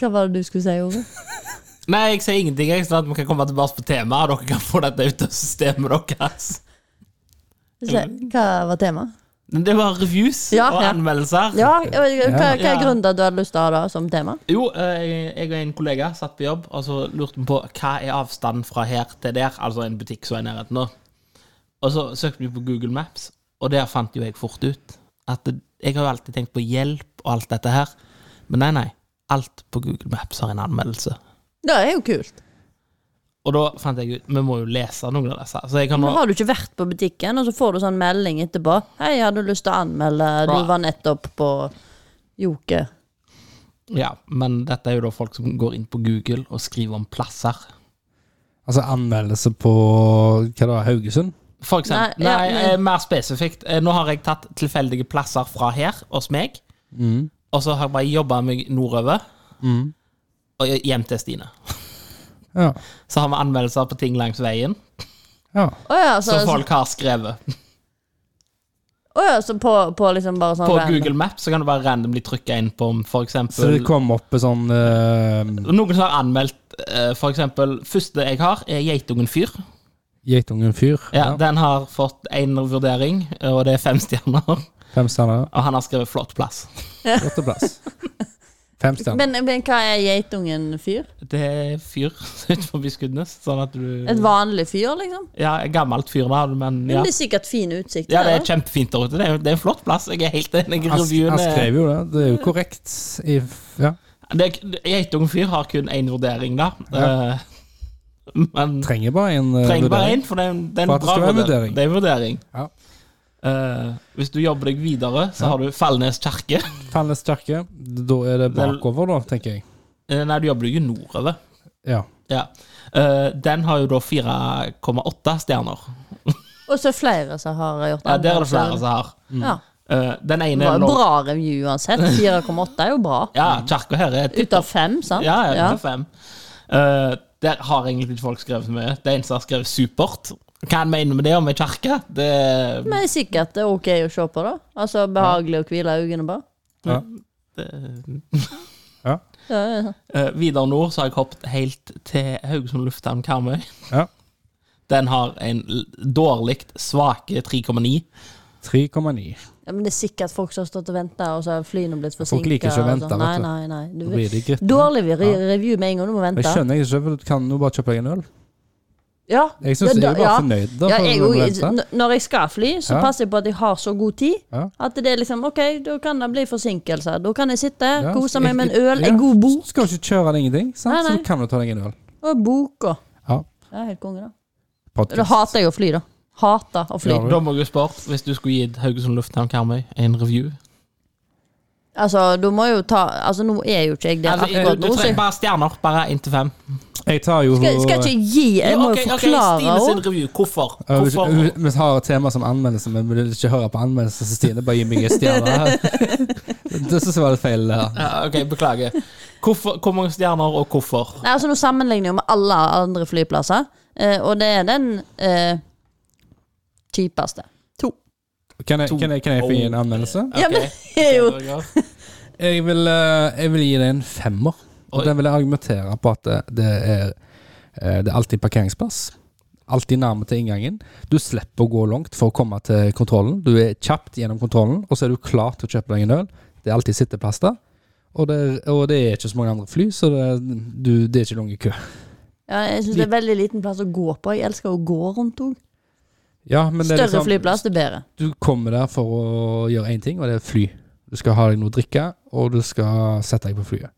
S3: Hva var det du skulle si, Ove?
S2: Nei, jeg sier ingenting, jeg, sånn at vi kan komme tilbake på temaet, og dere kan få dette ut av systemet deres.
S3: Se,
S2: Mm.
S3: Hva var temaet?
S2: Men det var reviews
S3: Ja,
S2: og
S3: ja.
S2: anmeldelser.
S3: Ja, hva, hva hva
S2: Ja.
S3: er grunnen til at du hadde lyst til å ha det som tema?
S2: Jo, eh, jeg jeg og en kollega satt på jobb, og så lurte vi på hva er avstanden fra her til der, altså en butikk som er i nærheten nå. Og så søkte vi på Google Maps, og der fant jo jeg fort ut at det- jeg har jo alltid tenkt på hjelp og alt dette her, men nei, nei. Alt på Google Maps har en anmeldelse.
S3: Det er jo kult.
S2: Og da fant jeg ut vi må jo lese noen av disse. Så jeg kan
S3: Men
S2: nå
S3: har du ikke vært på butikken, og så får du sånn melding etterpå. 'Hei, jeg hadde lyst til å anmelde. Du
S2: Bra.
S3: var nettopp på Joker.'
S2: Ja, men dette er jo da folk som går inn på Google og skriver om plasser.
S1: Altså anmeldelse på Hva da, Haugesund?
S2: For eksempel.
S3: Nei, ja, mm.
S2: Nei,
S3: men-
S2: eh, mer spesifikt. Eh, Nå har jeg tatt tilfeldige plasser fra her hos meg.
S1: Mm.
S2: Og så har jeg bare jobba meg nordover og hjem til Stine.
S1: Ja.
S2: Så har vi anmeldelser på ting langs veien
S1: ja.
S3: Å ja, så,
S2: som folk har skrevet.
S3: å ja, så på, på liksom bare sånn
S2: På
S3: random.
S2: Google Maps så kan du bare randomly trykke inn på om for
S1: Så
S2: eksempel
S1: det kom opp en sånn eh,
S2: Noen som har anmeldt eh, for eksempel Første jeg har, er Geitungen fyr.
S1: Geitungen fyr.
S2: Ja,
S1: Ja.
S2: Den har fått én vurdering, og det er fem stjerner. Og
S1: Fem stjerner.
S2: han har skrevet 'flott plass'.
S1: Åtteplass. Fem stjerner.
S3: Men, men hva er geitungen fyr?
S2: Det er fyr utenfor Skudenes. Sånn at du
S3: Et vanlig fyr, liksom?
S2: Ja, gammelt fyr, da, men
S3: Men
S2: ja.
S3: Det er sikkert fin utsikt.
S2: ja. Det er
S3: eller?
S2: kjempefint der ute. Det er, det er en flott plass. Jeg er helt enig.
S1: Han,
S2: Revyen
S1: han
S2: er
S1: skrev jo det. Det
S3: Mm.
S1: er jo korrekt. I, ja.
S2: Det er- Geitung fyr har kun én vurdering, da.
S1: Ja.
S2: Eh, Men
S1: Trenger bare en eh,
S2: trenger bare
S1: vurdering.
S2: én, for det er en, det er en
S1: For at det
S2: bra
S1: skal være en
S2: vurdering.
S1: vurdering.
S2: Det er en vurdering.
S1: Ja.
S2: Eh, hvis du jobber deg videre, så har du Fallnes kirke.
S1: Felles kirke. Da er det bakover, da, tenker jeg.
S2: Eh, Nei, du jobber deg jo nordover.
S1: Ja.
S2: Ja. Eh, den har jo da 4,8 stjerner.
S3: Og så er flere som har gjort
S2: Ja, der er det flere
S3: anmeldelser.
S2: som har.
S3: Ja.
S2: Eh, den ene
S3: Det
S2: er
S3: var jo
S2: nå-
S3: bra review uansett. 4,8 er jo bra.
S2: Ja, kirka her er
S3: Ut av fem, sant?
S2: Ja, ja, det er fem. Eh, der har egentlig ikke folk skrevet så mye. Det er en som har skrevet 'supert'. Hva han mener med det om ei kirke? Det,
S3: Men det er sikkert det er ok å se på, da. Altså behagelig å hvile øynene på.
S1: ja.
S2: det
S3: Ja, ja.
S2: Eh, videre nord så har jeg hoppet helt til Haugesund lufthavn Karmøy.
S1: ja.
S2: Den har en l- dårlig svake 3,9.
S1: 3,9.
S3: ja, Men det er sikkert folk som har stått og venta, og så har flyene blitt forsinka.
S1: Folk liker ikke å vente,
S3: Nei,
S1: vet du.
S3: nei, nei.
S1: Da
S3: Du,
S1: blir de gretne.
S3: dårlig re- review med en gang du må
S1: Jeg
S3: vente.
S1: skjønner ikke, for du kan jo bare kjøpe deg en øl.
S3: Ja,
S1: Jeg synes
S3: ja,
S1: jeg er bare
S3: ja.
S1: fornøyd da,
S3: ja,
S1: for
S3: jeg,
S1: å
S3: òg.
S1: vente.
S3: N- når jeg skal fly, så
S1: Ja.
S3: passer jeg på at jeg har så god tid
S1: Ja.
S3: at det er liksom OK, da kan det bli forsinkelser. Da kan jeg sitte,
S1: Ja,
S3: kose
S1: så-
S3: meg med en øl,
S1: ja.
S3: en god
S1: Du
S3: bok
S1: skal ikke kjøre deg ingenting, sant?
S3: Nei, nei.
S1: så du kan jo ta deg en øl.
S3: og bok og
S1: Ja.
S3: Ja, helt konge, da. Da
S1: Podcast.
S3: hater jeg å fly, da. Hater å fly.
S1: Ja, vel.
S2: Da må jeg jo spørre, hvis du skulle gitt Haugesund lufthavn Karmøy en review
S3: Altså, du må jo ta Altså, nå er jo ikke jeg der
S2: altså, du,
S3: akkurat
S2: du
S3: nå, så
S2: trenger bare stjerner. Bare én til fem.
S1: Jeg tar jo
S3: skal, skal ikke gi Jeg må jo
S2: Ok, ok,
S3: forklare
S2: Stine sin
S3: òg.
S2: review. Hvorfor?
S1: Ja, hvis-
S2: Hvorfor?
S1: hvis- Vi har et tema som anmeldelse, men vi vil ikke høre på anmeldelsen til Stine. Bare gi meg en stjerne her. det synes jeg var litt feil. det her.
S2: Ja, ok, beklager. Hvorfor, hvor mange stjerner, og hvorfor?
S3: Nei, altså, nå sammenligner jeg jo med alle andre flyplasser, eh, og det er den eh, kjipeste. To.
S1: Kan jeg, kan jeg, kan jeg få gi en anmeldelse?
S3: Ja,
S2: Ok.
S3: men det er jo
S2: Ja,
S1: Jeg vil, eh, jeg vil gi det en femmer. Og
S2: Oi.
S1: den vil jeg argumentere på at det- det er, eh, det er alltid parkeringsplass. Alltid nærme til inngangen. Du slipper å gå langt for å komme til kontrollen. Du er kjapt gjennom kontrollen, og så er du klar til å kjøpe deg en øl. Det er alltid sitteplass der. Og det, og det er ikke så mange andre fly, så det, du, det er ikke lang kø.
S3: Ja, jeg syns det er veldig liten plass å gå på. Jeg elsker å gå rundt òg.
S1: Ja, men det er
S3: Større
S1: liksom-
S3: flyplass, det er bedre.
S1: Du kommer der for å gjøre én ting, og det er fly. Du skal ha deg noe å drikke, og du skal sette deg på flyet.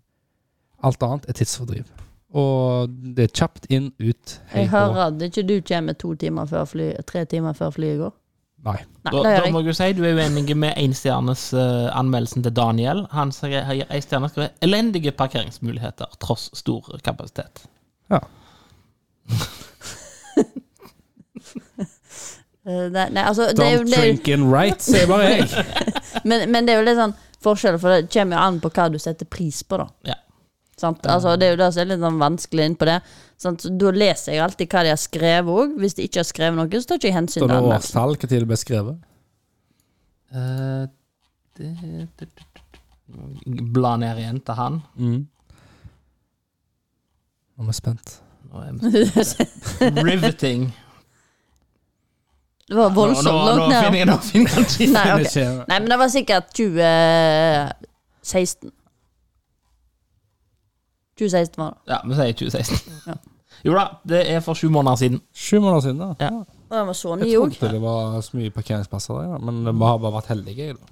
S1: Alt annet er tidsfordriv. Og det er kjapt inn, ut, hei
S3: Jeg
S1: og
S3: hører at ikke du kommer to timer før fly, tre timer før flyet går.
S1: Nei.
S3: Nei,
S2: Da,
S3: det gjør
S2: da
S3: jeg.
S2: må jeg jo si du er uenig med énstjernes uh, anmeldelsen til Daniel. Han sier har- en stjerne skriver 'elendige parkeringsmuligheter tross stor kapasitet'.
S1: Ja.
S3: Eh, Det, nei, altså, det er jo,
S1: Don't
S3: det er jo,
S1: drink and write, sier bare jeg.
S3: men, men det er jo litt sånn forskjell, for det kommer jo an på hva du setter pris på, da.
S2: Ja.
S3: Sant? Altså, det er jo det som er litt sånn vanskelig inn på det. Sant? Så Da leser jeg alltid hva de har skrevet òg. Hvis de ikke har skrevet noe, så tar ikke jeg hensyn
S1: Står
S3: til
S1: det
S3: anmeldelsen.
S1: årstall når det ble skrevet?
S2: Eh, det, det, det, det. Bla ned igjen til han.
S1: Mm. Nå er vi spent.
S2: Nå er vi- Riveting.
S3: Det var
S2: nå,
S3: voldsomt
S2: nå, nå
S3: langt
S2: finner
S3: ned.
S2: jeg nå finner han ikke.
S3: Nei, ok.
S1: Ikke-
S3: nei, men det var sikkert 2016. 2016 var det.
S2: Ja, vi sier 2016. Jo da, det er for sju måneder siden.
S1: Sju måneder siden, da.
S2: Ja.
S3: Og den var så ny
S1: Jeg
S3: òg.
S1: trodde det var så mye parkeringsplasser der, ja. men vi har bare vært heldige. jeg, da.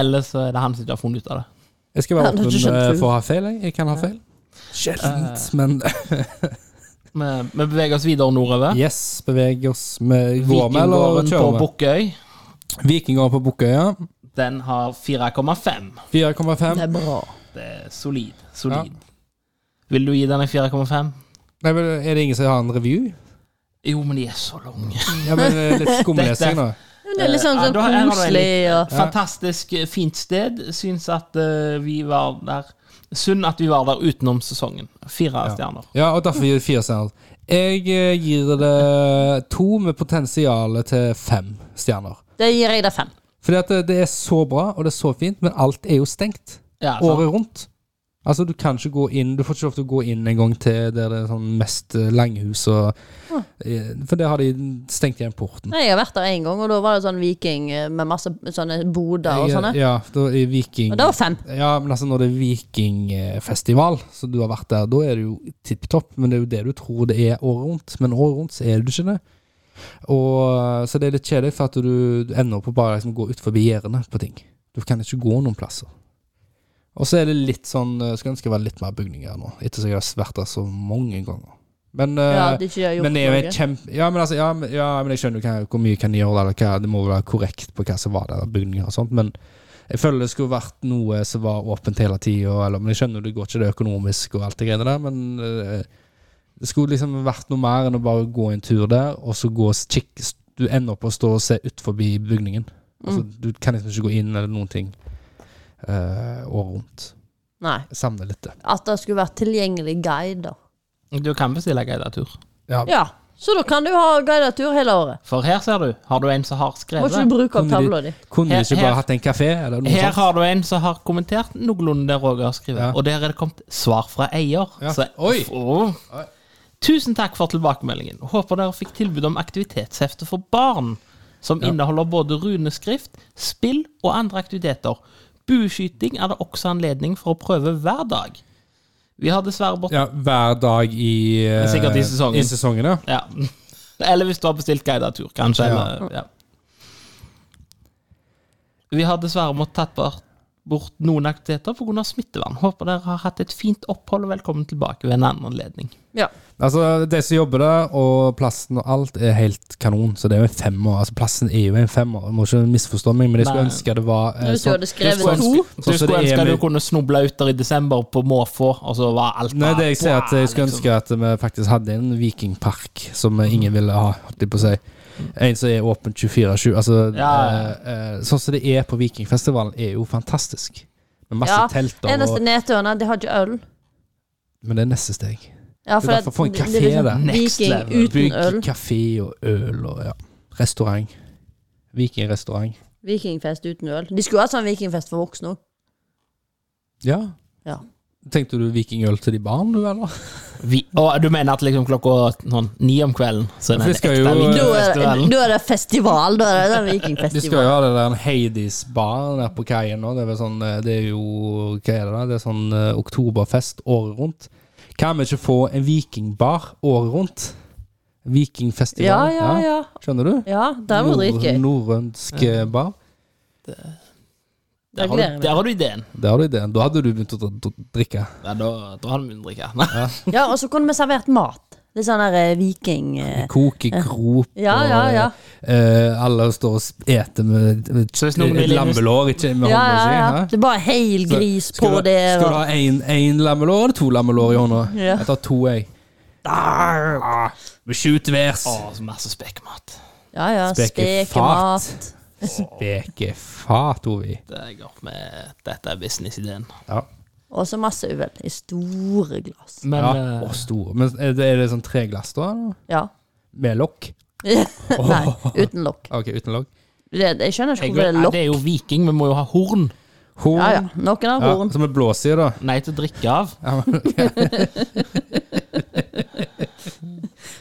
S2: Eller så er det han som ikke har funnet ut av det.
S1: Jeg skal være
S3: Ja, det er
S1: åpen
S3: ikke
S1: eh,
S3: skjønt.
S1: for å ha feil, jeg. Jeg kan ha feil. Sjeldent, men
S2: Vi, vi beveger oss videre nordover.
S1: Yes, beveger oss med Går vi, eller
S2: Vikinggården på
S1: kjører vi?
S2: Bukkøy,
S1: Vikinggården på Bukkøya.
S2: den har 4,5.
S1: 4,5.
S3: Det er bra.
S2: Det er solid. Solid. Vil du gi den en 4,5?
S1: Nei, men Er det ingen som har en review?
S2: Jo, men de er så lange.
S1: Ja, men eh, Litt skumlesing, da.
S3: Men det er litt sånn,
S2: Eh, ja,
S3: sånn
S2: da er det
S3: koselig og
S2: Fantastisk eh, fint sted. Syns at eh, vi var der Synd at vi var der utenom sesongen. Fire stjerner.
S1: Ja, og derfor gir det fire stjerner. Jeg eh, gir det to med potensial til fem stjerner.
S3: Det gir jeg deg fem.
S1: Fordi at det, det er så bra, og det er så fint, men alt er jo stengt
S2: Ja, sant.
S1: året rundt. Altså, du kan ikke gå inn Du får ikke lov til å gå inn en gang til der det er sånn mest eh, langhus og eh, For der har de stengt igjen porten.
S3: Nei, jeg har vært der én gang, og da var det sånn viking eh, med masse sånne boder og sånn,
S1: Jeg-
S3: sånne.
S1: Ja, da er Viking
S3: Og det var fem.
S1: Ja, men altså når det er vikingfestival, så du har vært der, da er det jo tipp topp, men det er jo det du tror det er året rundt. Men året rundt så er det ikke det. Og, så det er litt kjedelig, for at du, du ender opp på bare liksom gå ut forbi gjerdene på ting. Du kan ikke gå noen plasser. Og så er det litt sånn eh, Skulle ønske det var litt mer bygninger nå, etter at jeg har vært der så mange ganger. Men eh,
S3: Ja, at ikke de har gjort
S1: men det er jo
S3: noe.
S1: et kjempe... Ja, men, altså, ja, men, ja, men jeg skjønner jo hva, hvor mye kan de gjøre, eller hva, det må være korrekt på hva som var der, bygninger og sånt, men jeg føler det skulle vært noe som var åpent hele tida, eller Men jeg skjønner jo det går ikke det økonomisk og alt det greiene der, men eh, det skulle liksom vært noe mer enn å bare gå en tur der, og så gå og kikke Du ender opp å stå og se ut forbi bygningen. Altså, du kan liksom ikke gå inn eller noen ting eh, året rundt.
S3: Nei.
S1: Jeg savner litt det.
S3: At det skulle vært tilgjengelig guider.
S2: Du kan bestille guidetur.
S3: Ja, så da kan du ha guidet tur hele året.
S2: For her, ser du, har du en som har
S3: Må
S2: skrevet.
S3: ikke du bruke opp
S1: Kunne de-
S3: tavla di.
S1: Kunne
S2: Her-
S1: de ikke
S2: her-
S1: bare hatt en kafé, eller noe
S2: Her
S1: sånt?
S2: har du en som har kommentert noenlunde det Roger har skrevet.
S1: Ja.
S2: Og der er det kommet svar fra eier.
S1: Ja.
S2: Så,
S1: Oi.
S2: Åh. Tusen takk for tilbakemeldingen. Håper dere fikk tilbud om aktivitetshefte for barn. Som inneholder både runeskrift, spill og andre aktiviteter. Bueskyting er det også anledning for å prøve hver dag. Vi har dessverre bort...
S1: Ja, hver dag i eh,
S2: Sikkert i sesongen.
S1: I sesongen, ja.
S2: Ja. Eller hvis du har bestilt guidet tur, kanskje.
S1: Ja.
S2: Eller, ja. Vi har dessverre måttet tatt bort, bort noen aktiviteter pga. smittevern. Håper dere har hatt et fint opphold, og velkommen tilbake ved en annen anledning.
S3: Ja.
S1: Altså, de som jobber der, og plassen og alt, er helt kanon. Så det er jo en femmer. Altså, plassen er jo en femmer. Du må ikke misforstå meg, men jeg skulle
S2: Nei.
S1: ønske det var eh,
S3: Hvis du
S1: sånn-
S3: hadde skrevet
S1: Jeg skulle
S3: to.
S1: ønske- sånn
S2: Så du
S1: som
S2: skulle
S1: det er
S2: ønske du
S1: med-
S2: kunne snuble ut der i desember på måfå, og så var alt
S1: Nei, det
S2: bare- liksom.
S1: jeg sier at jeg skulle ønske at vi faktisk hadde en vikingpark som ingen ville ha, holdt jeg på å si. En som er åpen 24-7. Altså,
S2: Ja, ja.
S1: eh, eh, sånn som det er på Vikingfestivalen, er jo fantastisk. Med masse
S3: ja.
S1: telt og
S3: Eneste nedturen er at de har ikke øl.
S1: Men det er neste steg.
S3: Ja,
S1: Det er derfor få en
S3: det- det
S1: kafé
S3: er liksom
S1: der.
S2: Next
S3: Viking
S2: level.
S3: uten øl.
S1: Bygg kafé og øl og ja. restaurant. Vikingrestaurant.
S3: Vikingfest uten øl. De skulle hatt sånn vikingfest for voksne òg.
S1: Ja.
S3: Ja.
S1: Tenkte du vikingøl til de barn, du, eller?
S2: Vi, og du mener at liksom klokka sånn ni om kvelden så er det
S1: For
S2: en
S1: vi skal
S2: ekte
S1: jo-
S3: Da er,
S2: vikingfestival?
S3: da er det festival. Da er det den
S1: De skal jo
S3: vikingfestival.
S1: ha det der en Hades-bar der på kaien nå. Det er vel sånn eh, Det er jo Hva er det da? Det er sånn eh, oktoberfest året rundt. Kan vi ikke få en vikingbar året rundt? Vikingfestival.
S3: Ja, ja, ja.
S1: Skjønner du?
S3: Ja, Det var dritgøy.
S1: Norrønsk eh, bar.
S3: Jeg
S2: Der har,
S3: gleder
S2: du,
S3: meg.
S2: der har du ideen.
S1: Der har du ideen. Da hadde du begynt å dr- dr- drikke.
S2: Ja, da, da har du mindre drikke. Nei.
S3: Ja, og så kunne vi servert mat. Litt sånn der eh, viking... eh,
S1: Kokegrop
S3: Ja, ja, ja.
S1: og eh, alle står og spiser med, med
S2: Så hvis noen
S1: eh,
S2: vil
S1: lammelår, ikke med
S3: Ja,
S1: hånda
S3: ja,
S1: si.
S3: ja.
S1: hæ?
S3: Det er bare heil gris
S1: Skal
S3: på
S1: du-
S3: det.
S1: Skal du
S3: og-
S1: ha én lammelår eller to lammelår i hånda?
S3: Ja.
S1: Jeg tar to, jeg.
S2: Ah,
S1: Ah,
S3: Arr.
S1: Med sju tvers.
S2: Å, så masse spekemat.
S3: Ja, ja.
S1: Spekefat.
S3: Spekemat.
S1: Spekefat, Ovi.
S2: Det går eh, med, dette er businessideen.
S1: Ja.
S3: Og så masse uvel i store glass.
S2: Men
S1: ja.
S2: eh,
S1: Å, store. Men er det, er det sånn treglass, da? eller?
S3: Ja.
S1: Med lokk? Ah,
S3: Nei, uten lokk.
S1: OK, uten lokk.
S3: Det, jeg skjønner ikke
S2: jeg,
S3: hvorfor det
S2: vet-
S3: er
S2: ja,
S3: lokk.
S2: det er jo viking, vi må jo ha horn.
S1: Horn.
S3: Ja, ja. Noen har
S1: Ja,
S3: horn.
S1: som er blås i, da.
S2: Nei til å drikke av.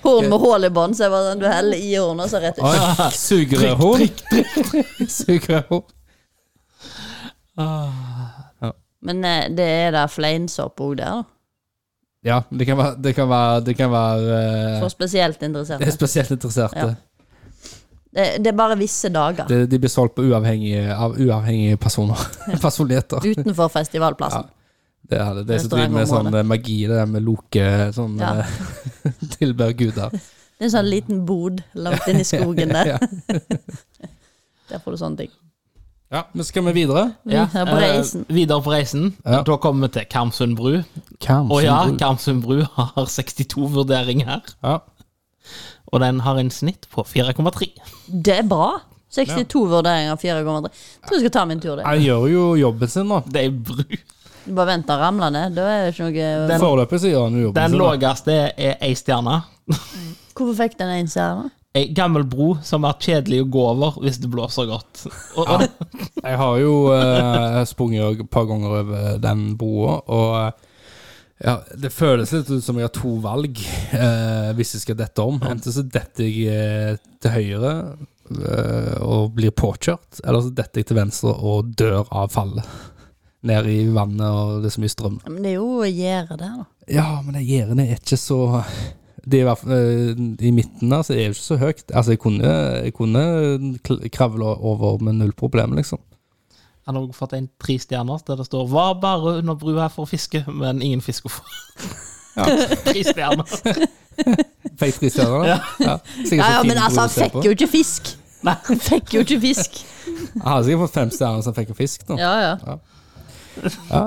S3: Horn med hull i bånn, så jeg bare sånn, du heller i hornet, og så rett ut.
S1: Oi, Sugerørhorn. Sugerørhorn.
S3: Men eh, det er der fleinsopp òg der, da.
S1: Ja, det kan være Det kan være, det kan være eh,
S3: For spesielt
S1: det er
S3: interesserte.
S1: spesielt interesserte.
S3: Ja. Det, det er bare visse dager
S1: Det, de blir solgt på uavhengige, av uavhengige personer. Personligheter.
S3: utenfor festivalplassen.
S1: Det er det. Det som driver med sånn
S3: Restaurantområdet.
S1: eh, magi, det der med loke, sånn
S3: Ja.
S1: eh, tilber guder.
S3: Det er en sånn liten bod langt inne i skogen der.
S1: Ja.
S3: Der får du sånne ting.
S1: Ja, men skal vi videre?
S3: Ja, på
S2: eh,
S3: reisen.
S2: videre på reisen.
S1: Ja.
S2: Da kommer vi til Karmsund bru.
S1: Kanskje.
S2: Og ja, Karmsund bru har 62 vurderinger,
S1: ja.
S2: og den har en snitt på 4,3.
S3: Det er bra. 62 vurderinger, 4,3. Tror jeg skal ta min tur, det.
S1: Han gjør jo jobben sin, da.
S2: Det er bru.
S3: Du bare vent den ramler ned. Da er det ikke noe
S2: Den-
S1: Foreløpig så gjør han jo jobben
S2: Den
S3: Sånn,
S1: sin. da.
S2: laveste er ei stjerne.
S3: Hvorfor fikk den en stjerne?
S2: Ei gammel bro som er kjedelig å gå over hvis det blåser godt. Og, og det,
S1: Jeg har jo eh, sprunget et par ganger over den broa, og eh, ja, det føles litt ut som jeg har to valg eh, hvis jeg skal dette om. Enten så detter jeg eh, til høyre eh, og blir påkjørt, eller så detter jeg til venstre og dør av fallet. Ned i vannet, og det er så mye strøm.
S3: Ja, Men det er jo gjerdet der, da.
S1: Ja, men det gjerdet er ikke så det er i, hvert fall, eh, I midten der så er det ikke så høyt. Altså, jeg kunne, jeg kunne kl- kravle over med null problem, liksom.
S2: han har også fått en tre stjerner der det står 'Var bare under brua for å fiske, men ingen fisk å få'. tre stjerner.
S1: Fikk tre stjerner, da? Ja. Sikkert
S3: Ja,
S1: så
S3: ja,
S1: fin
S3: men altså,
S1: bror å
S3: han
S1: se
S3: fikk
S1: på.
S3: jo ikke fisk!
S2: Nei.
S3: Han fikk jo ikke fisk.
S1: Jeg hadde sikkert fått fem stjerner så han fikk en fisk, da. Ja.
S3: Ja, ja.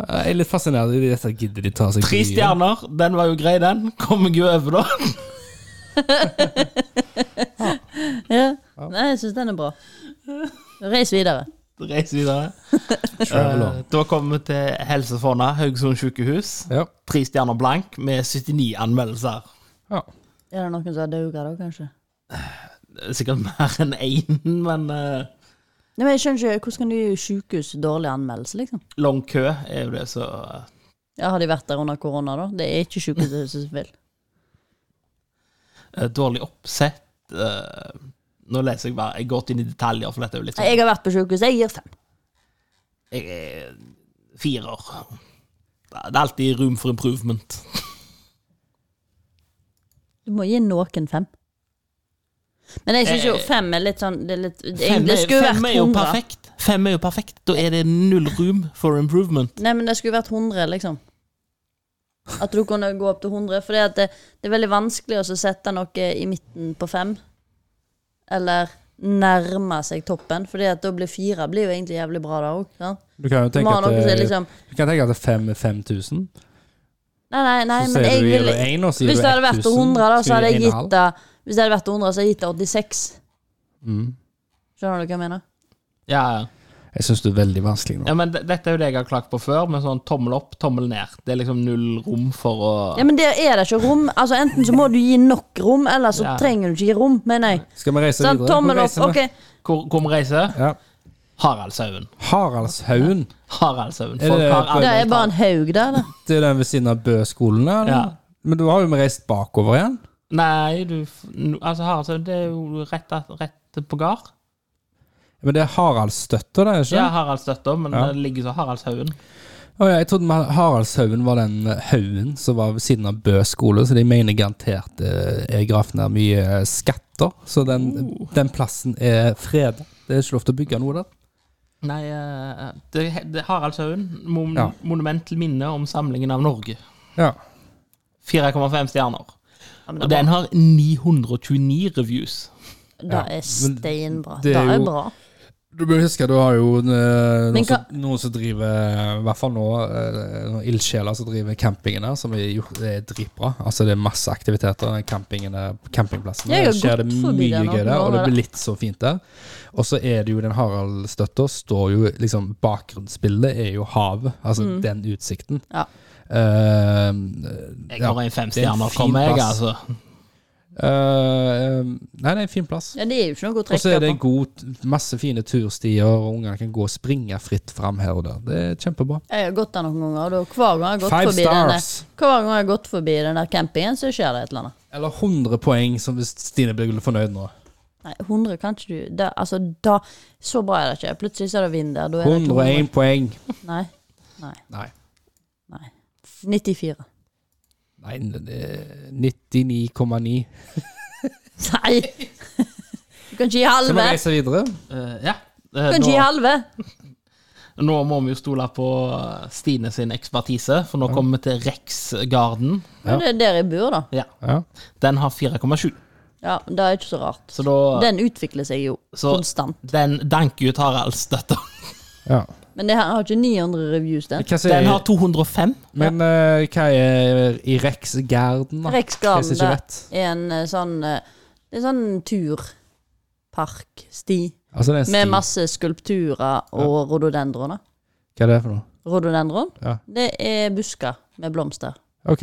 S1: jeg er litt fascinert i dette. Gidder de ta seg
S2: Tre
S1: bryet?
S2: stjerner, den var jo grei, den. Kom meg jo over, da.
S3: ja. Nei, jeg syns den er bra. Reis videre.
S2: Reis videre.
S1: Travel on.
S2: Eh, Da kommer vi til Helse Fonna, Haugesund sykehus.
S1: Ja.
S2: Tre stjerner blank med 79 anmeldelser.
S1: ja.
S3: Er det noen som har dauga da, kanskje?
S2: Det er Sikkert mer enn én, men eh,
S3: Nei, men jeg skjønner ikke, Hvordan kan du gi sykehus dårlig anmeldelse, liksom?
S2: lang kø er jo det, så eh,
S3: Ja, Har de vært der under korona, da? Det er ikke sykehuset som vil.
S2: Eh, Dårlig oppsett. eh, nå leser jeg bare Jeg går ikke inn i detaljer, for dette er jo litt
S3: Nei,
S2: sånn
S3: Jeg har vært på sykehus, jeg gir fem.
S2: Jeg er firer. Det er alltid room for improvement.
S3: Du må gi noen fem. Men jeg syns jo
S2: Eh,
S3: fem er litt sånn Det, er litt, det,
S2: Fem
S3: det
S2: er,
S3: skulle
S2: fem er
S3: vært
S2: jo
S3: 100.
S2: perfekt. Fem er jo perfekt. Da er det null room for improvement.
S3: Nei, men det skulle vært 100, liksom. At du kunne gå opp til 100. For det, det er veldig vanskelig å så sette noe i midten på fem. Eller nærme seg toppen. Fordi at da blir fire blir jo egentlig jævlig bra, da òg.
S1: Du kan jo
S3: Du må
S1: tenke
S3: ha
S1: at, eh,
S3: noe som er
S1: det-
S3: liksom
S1: du kan tenke at det er fem er 5000.
S3: Nei, nei, nei,
S1: Så
S3: men
S1: sier
S3: jeg
S1: du gir
S3: ville
S1: det én, og så gir
S3: Hvis
S1: du
S3: det hadde vært
S1: 1000,
S3: 100, da,
S1: så
S3: så hadde
S1: gir
S3: jeg
S1: du en halv.
S3: gitt det Hvis det hadde vært 100, så hadde jeg gitt det 86.
S1: Mm.
S3: Skjønner du hva jeg mener?
S2: Ja, ja.
S1: Jeg syns du er veldig vanskelig nå.
S2: Ja, men det- Dette er jo det jeg har klagt på før, med sånn tommel opp, tommel ned. Det er liksom null rom for å
S3: Ja, men der er det ikke rom. Altså, Enten så må du gi nok rom, eller så
S2: Ja.
S3: trenger du ikke gi rom, mener jeg.
S1: Skal vi reise
S3: Sånn,
S1: videre? Hvor
S3: tommel opp.
S1: reiser vi?
S3: Ok.
S2: Hvor hvor vi reiser.
S1: Ja.
S2: Haraldshaugen.
S1: Haraldshaugen.
S2: Haraldshaugen.
S1: Er
S2: Folk
S1: det-
S2: har aldri
S3: Det er bare en haug der, da.
S1: Det er den ved siden av Bø-skolen der. eller?
S2: Ja.
S1: Men da har jo vi reist bakover igjen.
S2: Nei, du f- no- Altså, Haraldshaugen, det er jo rett, at- rett på gard.
S1: Men det er Haraldsstøtta, det, er ikke?
S2: Ja, Haraldsstøtta, men
S1: Ja.
S2: det ligger så Haraldshaugen.
S1: Å ja, jeg trodde man- Haraldshaugen var den eh, haugen som var ved siden av Bø skole, så de mener garantert eh, er grafen der mye eh, skatter. Så den, den plassen er freda. Det er ikke lov til å bygge noe der.
S2: Nei, eh, det, det Haraldshaugen. Mon
S1: Ja.
S2: Monument til minne om samlingen av Norge.
S1: Ja.
S2: 4,5 stjerner.
S3: Ja, men
S2: Og
S3: det, er
S2: den har 929 reviews.
S3: bra. det er steinbra.
S1: det
S3: Det
S1: er
S3: er,
S1: jo-
S3: bra.
S1: Du bør huske at du har jo eh, noen,
S3: Men
S1: som, noen som driver, i hvert fall nå, eh, noen ildsjeler som driver campingen der, som er, gjort, det er dritbra. Altså det er masse aktiviteter den campingen der, på campingplassen.
S3: Jeg har
S1: Der skjer det
S3: gått forbi
S1: mye
S3: den noen
S1: gøy der, og det
S3: ganger.
S1: blir litt så fint der. Og så er det jo den Harald-støtta, står jo liksom Bakgrunnsbildet er jo havet, altså den utsikten.
S3: Ja.
S1: Eh,
S2: Jeg
S1: Ja,
S2: har en fem
S1: det er en
S2: stjerner,
S1: fin
S2: kommer jeg,
S1: plass.
S2: altså.
S1: eh, nei, det er en fin plass.
S3: Ja, det er jo ikke noe å
S1: Og så er det
S3: trekke
S1: en
S3: på.
S1: god, masse fine turstier, og ungene kan gå og springe fritt fram her og der. Det er kjempebra.
S3: Jeg har gått der noen ganger, og da, hver gang jeg har gått
S1: Five
S3: forbi den der,
S1: stars.
S3: hver gang jeg har gått forbi den der campingen, så skjer det et eller annet.
S1: Eller 100 poeng, som hvis Stine blir fornøyd nå.
S3: Nei, 100 kan ikke du da, Altså, da Så bra er det ikke. Plutselig så er det vind der. Da er det ikke
S1: 101 poeng.
S3: 100. Nei. Nei.
S1: Nei.
S3: Nei. 94.
S1: Nei, det er 99,9.
S3: Nei! Du kan ikke gi
S1: Skal vi
S3: halve!
S1: reise videre?
S2: Eh, ja.
S3: Du
S2: Eh,
S3: kan ikke gi
S2: nå,
S3: halve!
S2: nå må vi jo stole på eh, Stine sin ekspertise, for nå kommer vi til Rex Garden.
S3: Men
S1: Ja.
S3: det er der jeg bor, da.
S2: Ja.
S1: Ja.
S2: Den har 4,7.
S3: Ja, Det er ikke så rart.
S2: Så da
S3: Den utvikler seg jo
S2: Så-
S3: konstant.
S2: Den danker ut Haraldsstøtta.
S1: ja.
S3: Men det her har ikke 900 reviews, den.
S1: Hva sier
S2: Den har 205.
S1: Men eh, hva er i Rex Garden, da? Jeg
S3: Reksgarden
S1: ser ikke
S3: der
S1: rett.
S3: er en eh, sånn eh, Det er sånn turpark, sti,
S1: Altså, det er en
S3: med
S1: sti.
S3: masse skulpturer og rododendroner.
S1: Hva er det for noe?
S3: Rododendron,
S1: Ja.
S3: det er busker med blomster.
S1: OK.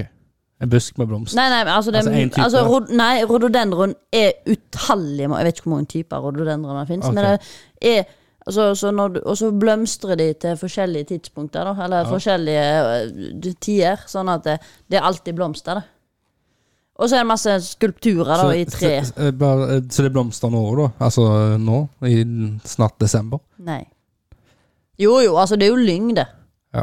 S1: En busk med blomster.
S3: Nei, nei, men altså, det er,
S1: Altså, en type?
S3: altså rod, Nei, rododendron er utallige må- Jeg vet ikke hvor mange typer rododendron det finnes,
S1: Ok.
S3: men det er altså, så når du, Og så blomstrer de til forskjellige tidspunkter, da. Eller forskjellige ø, tider. Sånn at det, det er alltid blomster, da. Og så er det masse skulpturer da, i tre.
S1: Så, så, eh, bare, eh, så det blomstrer nå òg, da? Altså eh, nå? I snart desember?
S3: Nei. Jo, jo, altså, det er jo lyng, det.
S1: Ja.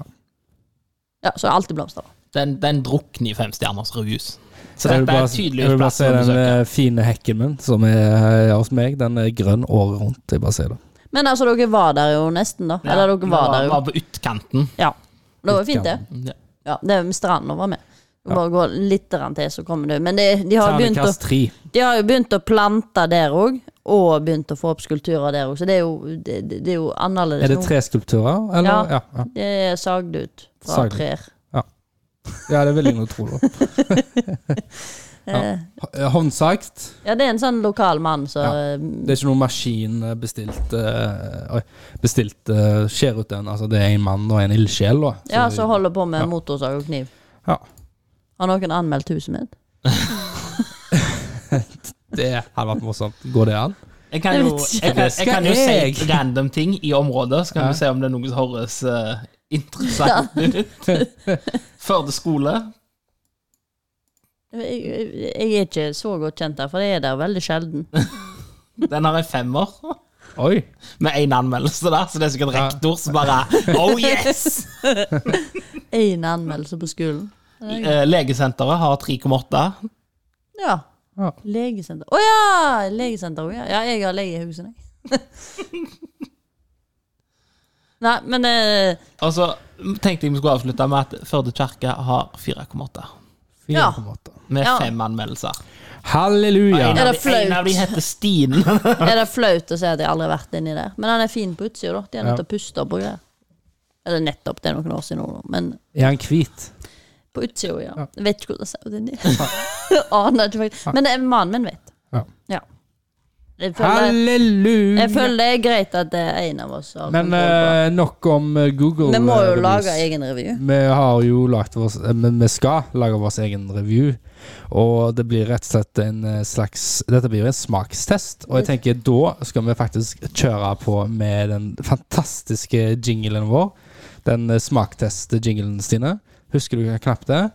S3: Ja, så er alltid blomster. da.
S2: Den, den drukner i femstjerners reviews. Så
S1: Jeg vil
S2: dette er
S1: bare- jeg
S2: tydeligvis
S1: vil bare si
S2: plassen å
S1: den
S2: besøke.
S1: eh, fine hekken min, som er eh, hos meg, den er grønn året rundt. Jeg bare sier det.
S3: Men altså, dere var der jo nesten, da.
S2: Ja,
S3: Eller
S2: vi
S3: dere var der jo.
S2: var på utkanten.
S3: Ja. Det var jo fint, det.
S2: Ja.
S3: Ja, det er med stranda var med. Du Bare gå litt grann til, så kommer du. Men det, de, har begynt å,
S1: Ternekast tre.
S3: de har jo begynt å plante der òg, og begynt å få opp skulpturer der òg, så det er jo, det, det det er jo annerledes
S1: Er det tre skulpturer, eller?
S3: Ja.
S1: Ja, ja.
S3: Det er sagd ut fra
S1: Sagd.
S3: trær.
S1: Ja, det vil jeg nå tro, da. ja. Eh, Håndsagt.
S3: Ja, det er en sånn lokal mann som
S1: Ja.
S3: eh,
S1: Det er ikke noen maskin eh, bestilt eh, Oi, bestilt eh, skjer ut en Altså, det er en mann og en ildsjel, da. Så-
S3: ja, som holder på med
S1: Ja.
S3: motorsag og kniv.
S1: Ja.
S3: Har noen anmeldt huset mitt?
S1: Det hadde vært morsomt. Går det an?
S2: Jeg kan
S3: Jeg
S2: jo,
S3: vet ikke.
S2: jeg kan, jeg kan jo
S1: Skal
S2: si random ting i området, så kan
S1: Ja.
S2: vi se om det er noe som høres eh, interessant ut. Førde skole.
S3: Jeg, jeg, jeg er ikke så godt kjent der, for jeg er der veldig sjelden.
S2: Den har en femmer,
S1: Oi!
S2: med én anmeldelse der, så det er sikkert
S1: Ja.
S2: rektor som bare Oh yes!
S3: Én anmeldelse på skolen.
S2: Eh, Legesenteret har 3,8.
S3: Ja.
S1: Ja.
S3: Legesenter. Å ja! Legesenter òg, ja. ja. Jeg har lege i huset, jeg. Nei, men eh,
S2: Og så tenkte jeg vi skulle avslutte med at Førde kirke har 4,8.
S1: Fire
S3: Ja.
S1: på en måte.
S2: Med
S3: Ja.
S2: fem anmeldelser.
S1: Halleluja!
S2: En
S3: Er
S2: av
S3: det
S2: de- En av de
S3: flaut?
S2: heter Stine.
S3: er det flaut å si at jeg aldri har vært inni der? Men han er fin på utsida, da. De har
S1: Ja.
S3: nettopp pusta opp og greier. Eller nettopp, det er noen år siden nå, da. men
S1: Er han hvit?
S3: på utsida, ja.
S1: Ja.
S3: Jeg eh, vet ikke hvordan det ser ut inni. Aner ikke, faktisk. Men det er mannen min vet.
S1: Ja.
S3: Jeg føler,
S1: Halleluja!
S3: jeg føler det er greit at det er en av oss som har
S1: Men
S3: kontroll på.
S1: eh, nok om eh, Google.
S3: Vi må jo
S1: eh,
S3: lage
S1: reviews.
S3: egen revy.
S1: Vi har jo lagt vår eh, Men vi skal lage vår egen review. Og det blir rett og slett en eh, slags Dette blir jo en smakstest.
S3: Mm.
S1: Og jeg tenker da skal vi faktisk kjøre på med den fantastiske jinglen vår. Den eh, smaktest-jinglen, Stine. Husker du knapt det?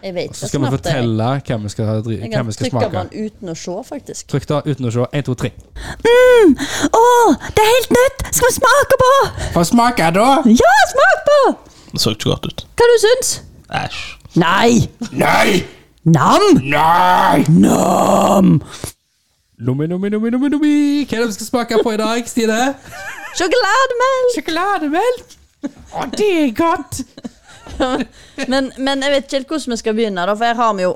S3: Jeg vet eh.
S1: Og så
S3: det
S1: skal vi
S3: knapt, jeg.
S1: fortelle hvem vi skal, dri-
S3: Jeg
S1: hvem
S3: kan
S1: vi skal
S3: trykke på
S1: smake.
S3: den uten å se, faktisk.
S1: Trykk da, uten å se. Én, to, tre.
S3: Å, det er helt nytt! Skal vi smake på?
S1: Få smake, da!
S3: Ja, smak på!
S2: Det så ikke godt ut.
S3: Hva du syns?
S2: Æsj.
S3: Nei!
S1: Nei!
S3: Nam!
S1: Nei!
S3: Nam!
S1: Lommi, lommi, lommi, lommi, lommi. Hva er det vi skal smake på i dag, Stine?
S3: Sjokolademelk!
S1: Sjokolademelk! Å, det er godt!
S3: Men, men jeg vet ikke helt hvordan vi skal begynne, da, for her har vi jo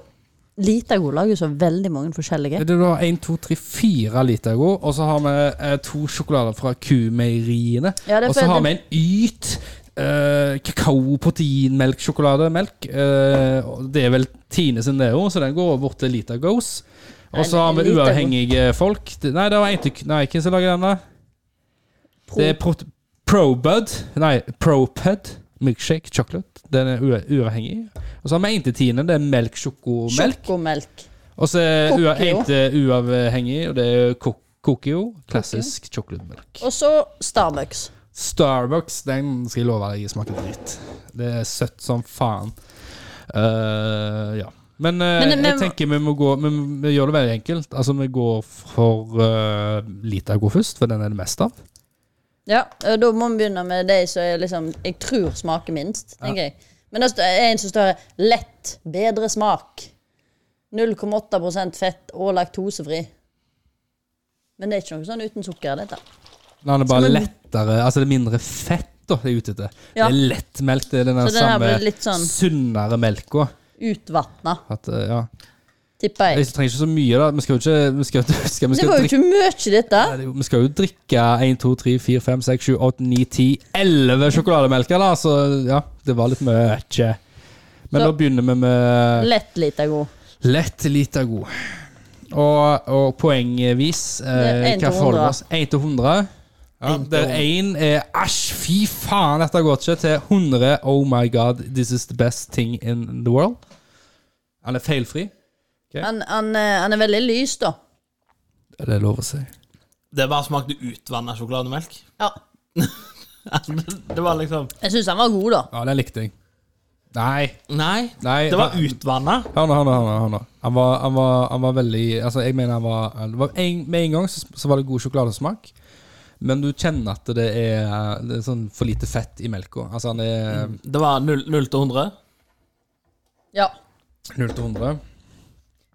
S3: lite god lag, og så veldig mange forskjellige.
S1: Det er da 1, 2, 3, 4 liter god, og så har vi eh, to sjokolader fra kumeieriene.
S3: Ja, det er
S1: og så
S3: for-
S1: har vi en yt eh, kakao, proteinmelk, sjokolademelk. Eh, og det er vel Tine sin det òg, så den går bort til Lita Goes. Og så
S3: Nei,
S1: har vi
S3: Lita Goes.
S1: uavhengige folk. Det- Nei, det var en til Nei, hvem som lager den, da?
S3: Pro-
S1: Det er pro ProBud. Nei, ProPud. Milkshake chocolate. Den er ua- uavhengig. Og så har vi en til Tine. Det er melk, sjokomelk.
S3: Sjokomelk.
S1: Og så er ua-
S3: Kokio.
S1: en til uavhengig, og det er ko- Kokio. Klassisk sjokolademelk.
S3: Og så Starbucks.
S1: Starbucks, den skal jeg love deg smaker dritt. Det er søtt som faen. Eh, ja. Men, eh,
S3: Men- men-
S1: jeg tenker vi må gå vi, vi gjør det veldig enkelt. Altså, vi går for uh, Litago først, for den er det mest av.
S3: Ja, og da må vi begynne med de som jeg, liksom, jeg tror smaker minst. tenker jeg. Men det er en som står her. Lett, bedre smak. 0,8 fett og laktosefri. Men det er ikke noe sånn uten sukker. dette.
S1: Den er bare
S3: Så, men-
S1: lettere Altså, det er mindre fett. Da, det er ute etter.
S3: Ja.
S1: Det er lettmelk. Det er den der
S3: Så den her
S1: samme
S3: blir litt sånn-
S1: sunnere melka.
S3: Utvatna,
S1: At, eh, ja.
S3: tipper jeg.
S1: Jeg trenger ikke så mye, da. Vi skal jo ikke Vi skal, vi skal, vi
S3: Det
S1: skal
S3: var jo
S1: drikke
S3: ikke mye, dette.
S1: Nei, det er jo- Vi skal jo drikke 1, 2, 3, 4, 5, 6, 7, 8, 9, 10, 11 sjokolademelker, da. Så ja, det var litt mye. Men
S3: Så-
S1: da begynner vi med
S3: Lett lite god.
S1: lett, lite god. Og, og poengvis
S3: Det
S1: eh,
S3: er en
S1: Hva
S3: til
S1: forholder vi
S3: hundre.
S1: oss? 1 til 100? Ja,
S2: En til
S1: der én er eh, Æsj, fy faen, dette går ikke. Til 100 Oh my God, this is the best thing in the world. Han er feilfri.
S3: Han, han, eh, han er veldig lys, da.
S1: Er det lov å si?
S2: Det bare smakte utvanna sjokolademelk. Altså,
S3: Ja.
S2: det var liksom
S3: Jeg syns han var god, da.
S1: Ja, den likte jeg. Nei.
S2: Nei,
S1: Nei,
S2: det var
S1: hva-
S2: utvanna.
S1: Hør nå, hør nå, hør nå, hør nå. Han var, han var, han var veldig Altså, jeg mener han var, han var en, Med en gang så, så var det god sjokoladesmak, men du kjenner at det er, det er sånn for lite fett i melka. Altså, han er
S2: Det var 0, til 100.
S3: Ja.
S1: 0 til 100.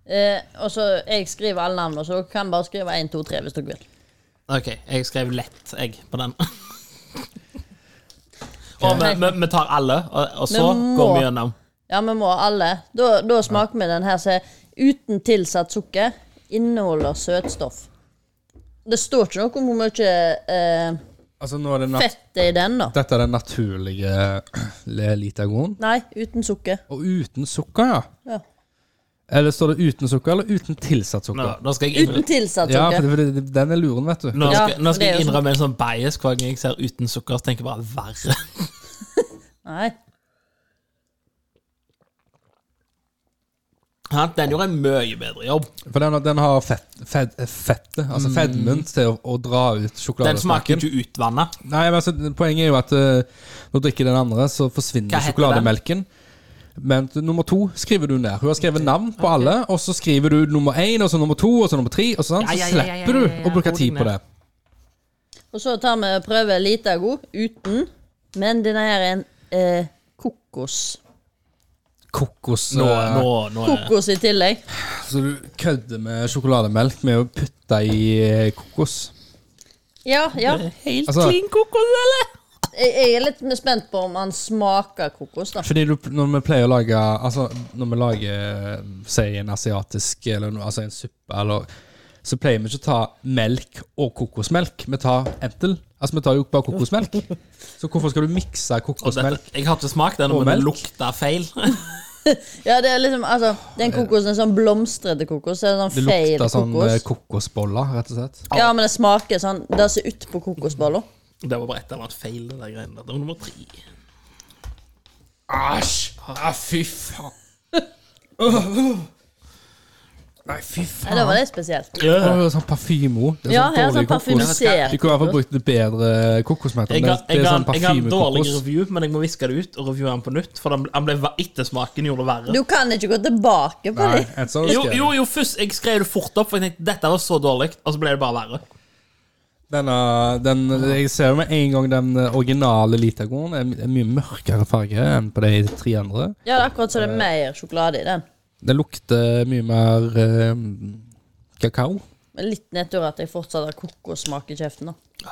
S3: Eh, og så Jeg skriver alle navnene, så dere kan bare skrive 1, 2, 3 hvis dere vil.
S2: OK, jeg skrev lett, jeg, på den. og vi, vi, vi tar alle, og, og så
S3: Vi må-
S2: går vi gjennom.
S3: Ja, vi må alle. Da, da smaker vi den her som er uten tilsatt sukker. Inneholder søtstoff. Det står ikke noe om hvor mye eh,
S1: Altså, nå er det nat
S3: fett det er i den, da.
S1: Dette er den naturlige litagonen.
S3: Nei, uten sukker.
S1: Og uten sukker, ja.
S3: Ja.
S1: Eller står det uten sukker eller uten tilsatt
S2: Nå,
S1: sukker?
S2: nå skal jeg
S3: Uten
S2: innrømme,
S3: tilsatt
S1: Ja, for,
S3: sukker.
S1: det, for det, den er luren, vet du.
S2: nå
S3: Ja,
S2: skal, nå
S3: det
S2: skal
S3: er
S2: jeg
S3: jo
S2: innrømme en sånn bias hver gang jeg ser uten sukker. Så tenker jeg bare verre.
S3: Nei.
S2: Ja, Den gjorde en mye bedre jobb.
S1: For den, den har fett, fett, fettet, altså fedmen, til å, å dra ut
S2: Mm. Den smaker
S1: sjokoladesmaken.
S2: ikke utvanna.
S1: Nei, men altså, poenget er jo at uh, når du drikker den andre, så forsvinner
S2: Hva heter
S1: sjokolademelken. Men t- nummer to skriver du ned. Hun har skrevet navn på alle, og så skriver du nummer én, og så nummer to, og så nummer tre, og sånn.
S2: Ja, ja,
S1: Så
S2: ja, ja, ja,
S1: slipper du
S2: ja, ja,
S1: å bruke
S2: hodene.
S1: tid på det.
S3: Og så tar vi prøve lite av god uten. Men denne her er en eh, kokos.
S1: Kokos
S2: Nå,
S1: eh,
S2: nå, nå er det
S3: Kokos i tillegg.
S1: Så du kødder med sjokolademelk med å putte i eh, kokos.
S3: Ja, ja.
S2: Helt
S1: Altså-
S2: clean kokos, eller?
S3: Jeg, jeg er litt spent på om han smaker kokos, da.
S1: Fordi du, når vi pleier å lage Altså, når vi lager Si en asiatisk Eller noe, altså en suppe eller Så pleier vi ikke å ta melk og kokosmelk Vi tar entel Altså, vi tar jo bare kokosmelk Så hvorfor skal du mikse
S2: Og dette,
S1: kokosmelk?
S2: jeg har ikke smakt den,
S1: Og
S2: men det
S1: melk.
S2: lukta feil.
S3: Ja, det er liksom, altså, den kokosen er sånn blomstrete kokos. Så er det sånn
S1: Det
S3: fade
S1: lukter sånn eh,
S3: kokos.
S1: kokosboller, rett og slett.
S3: Ja, men det smaker sånn Det ser ut på kokosboller.
S2: Det var bare ett eller annet feil, det der greiene der. Det var nummer tre.
S1: Æsj! Ah, fy faen. Nei, fy
S3: Nei, da var det spesielt.
S1: Det er jo sånn parfyme òg. Det er
S3: Ja,
S1: sånn
S3: her er
S1: dårlig
S3: sånn
S1: kokos.
S3: parfymisert
S1: De kunne i hvert fall brukt det bedre kokosmeter.
S2: Jeg
S1: men
S2: ga,
S1: det-
S2: jeg
S1: Det er
S2: ga,
S1: sånn
S2: jeg ga en dårlig
S1: parfymekokos.
S2: review, men jeg må viske det ut og reviewe den på nytt. For den ble, den ble ver- ettersmaken gjorde det verre.
S3: Du kan ikke gå tilbake på
S1: Nei,
S3: dem.
S1: en sånn
S2: Jo,
S1: skal jeg.
S2: jo, jo, først jeg skrev det fort opp, for jeg tenkte dette var så dårlig, og så ble det bare verre.
S1: Denne, den, jeg ser jo med en gang den eh, originale Litagoen er my- er mye mørkere farge enn på de tre andre.
S3: Ja, det er akkurat så det er mer sjokolade i den.
S1: Den lukter mye mer eh, kakao.
S3: Men litt nedtur at jeg fortsatt har kokossmak i kjeften. da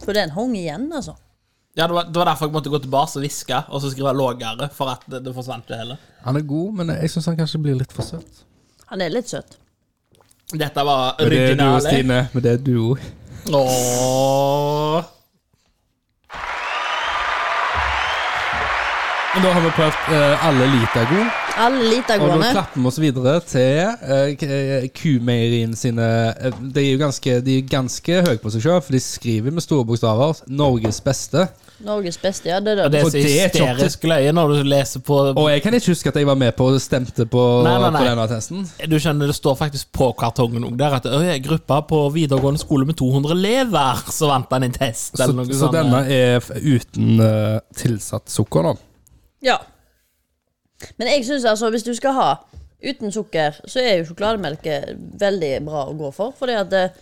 S3: For den hang igjen, altså.
S2: Ja, det var, det var derfor jeg måtte gå tilbake og hviske, og så skrive lågere, for at det, det forsvant det hele.
S1: Han er god, men jeg syns han kanskje blir litt for søt.
S3: Han er litt søt.
S2: Dette var
S1: Men det er du,
S2: originale.
S1: Stine. Men det er du òg.
S2: Åh.
S1: Men da har vi prøvd eh, alle Litago.
S3: Alle
S1: Og nå
S3: litagoene.
S1: klapper vi oss videre til eh, k- eh, Kumeierien sine eh, De er jo ganske, de er ganske høye på seg sjøl, for de skriver med store bokstaver 'Norges beste'.
S3: Norges beste, ja. Det er
S2: Det
S3: det.
S2: er
S1: Og
S2: så
S1: det er kjapt.
S2: hysterisk løye når du leser på
S1: Og jeg kan ikke huske at jeg var med på og stemte på,
S2: Nei, nei, nei.
S1: på denne testen.
S2: Du skjønner, det står faktisk på kartongen òg der at «Øy, gruppa på videregående skole med 200 elever, så vant han en test,
S1: Så,
S2: eller noe sånn,
S1: så
S2: sånt.
S1: denne er f- uten eh, tilsatt sukker, da.
S3: Ja. Men jeg syns altså, hvis du skal ha uten sukker, så er jo sjokolademelke veldig bra å gå for. Fordi at det,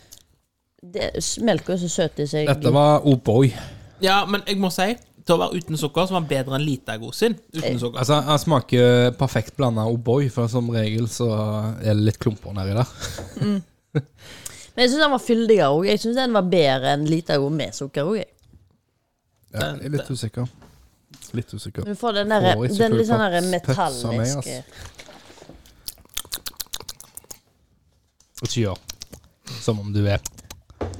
S3: det, melk er jo så søt i seg.
S1: Dette var O'boy.
S2: Ja, men jeg må si, til å være uten sukker, så var han bedre enn Litago sin. Uten sukker.
S1: altså, han smaker perfekt blanda O'boy, for som regel så er det litt klumper nedi der.
S3: Men jeg syns den var fyldigere òg. Jeg syns den var bedre enn litago med sukker òg.
S1: Ja, jeg er litt usikker. Litt usikker.
S3: Du får den derre
S1: Får ikke
S3: Den litt sånn
S1: full
S3: derre
S1: pats- pats av meg,
S3: metalliske
S1: Ikke gjør som om du er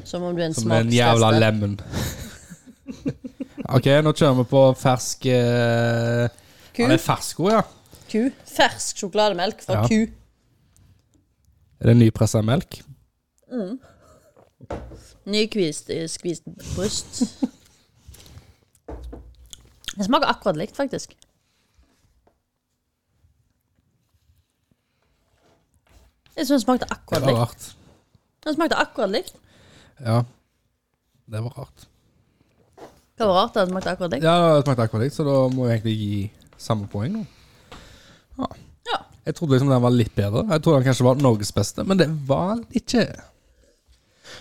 S3: Som om du er en
S1: Som en jævla
S3: smakstester.
S1: lemon. OK, nå kjører vi på fersk eh, Han er
S3: Ku.
S1: fersk òg, ja.
S3: ku. Fersk sjokolademelk fra
S1: Ja.
S3: ku.
S1: Er det nypressa melk?
S3: Nykvist eh, skvist bryst. Det smaker akkurat likt, faktisk. Jeg syns den smakte
S1: Det
S3: akkurat
S1: var
S3: likt.
S1: rart.
S3: Den smakte akkurat likt.
S1: Ja. Det var rart.
S3: Hva var rart at den smakte akkurat likt?
S1: Ja, det smakte akkurat likt, så da må jeg egentlig gi samme poeng nå. Ja.
S3: Ja.
S1: Jeg trodde liksom den var litt bedre. Jeg trodde den kanskje var Norges beste, men det var den ikke.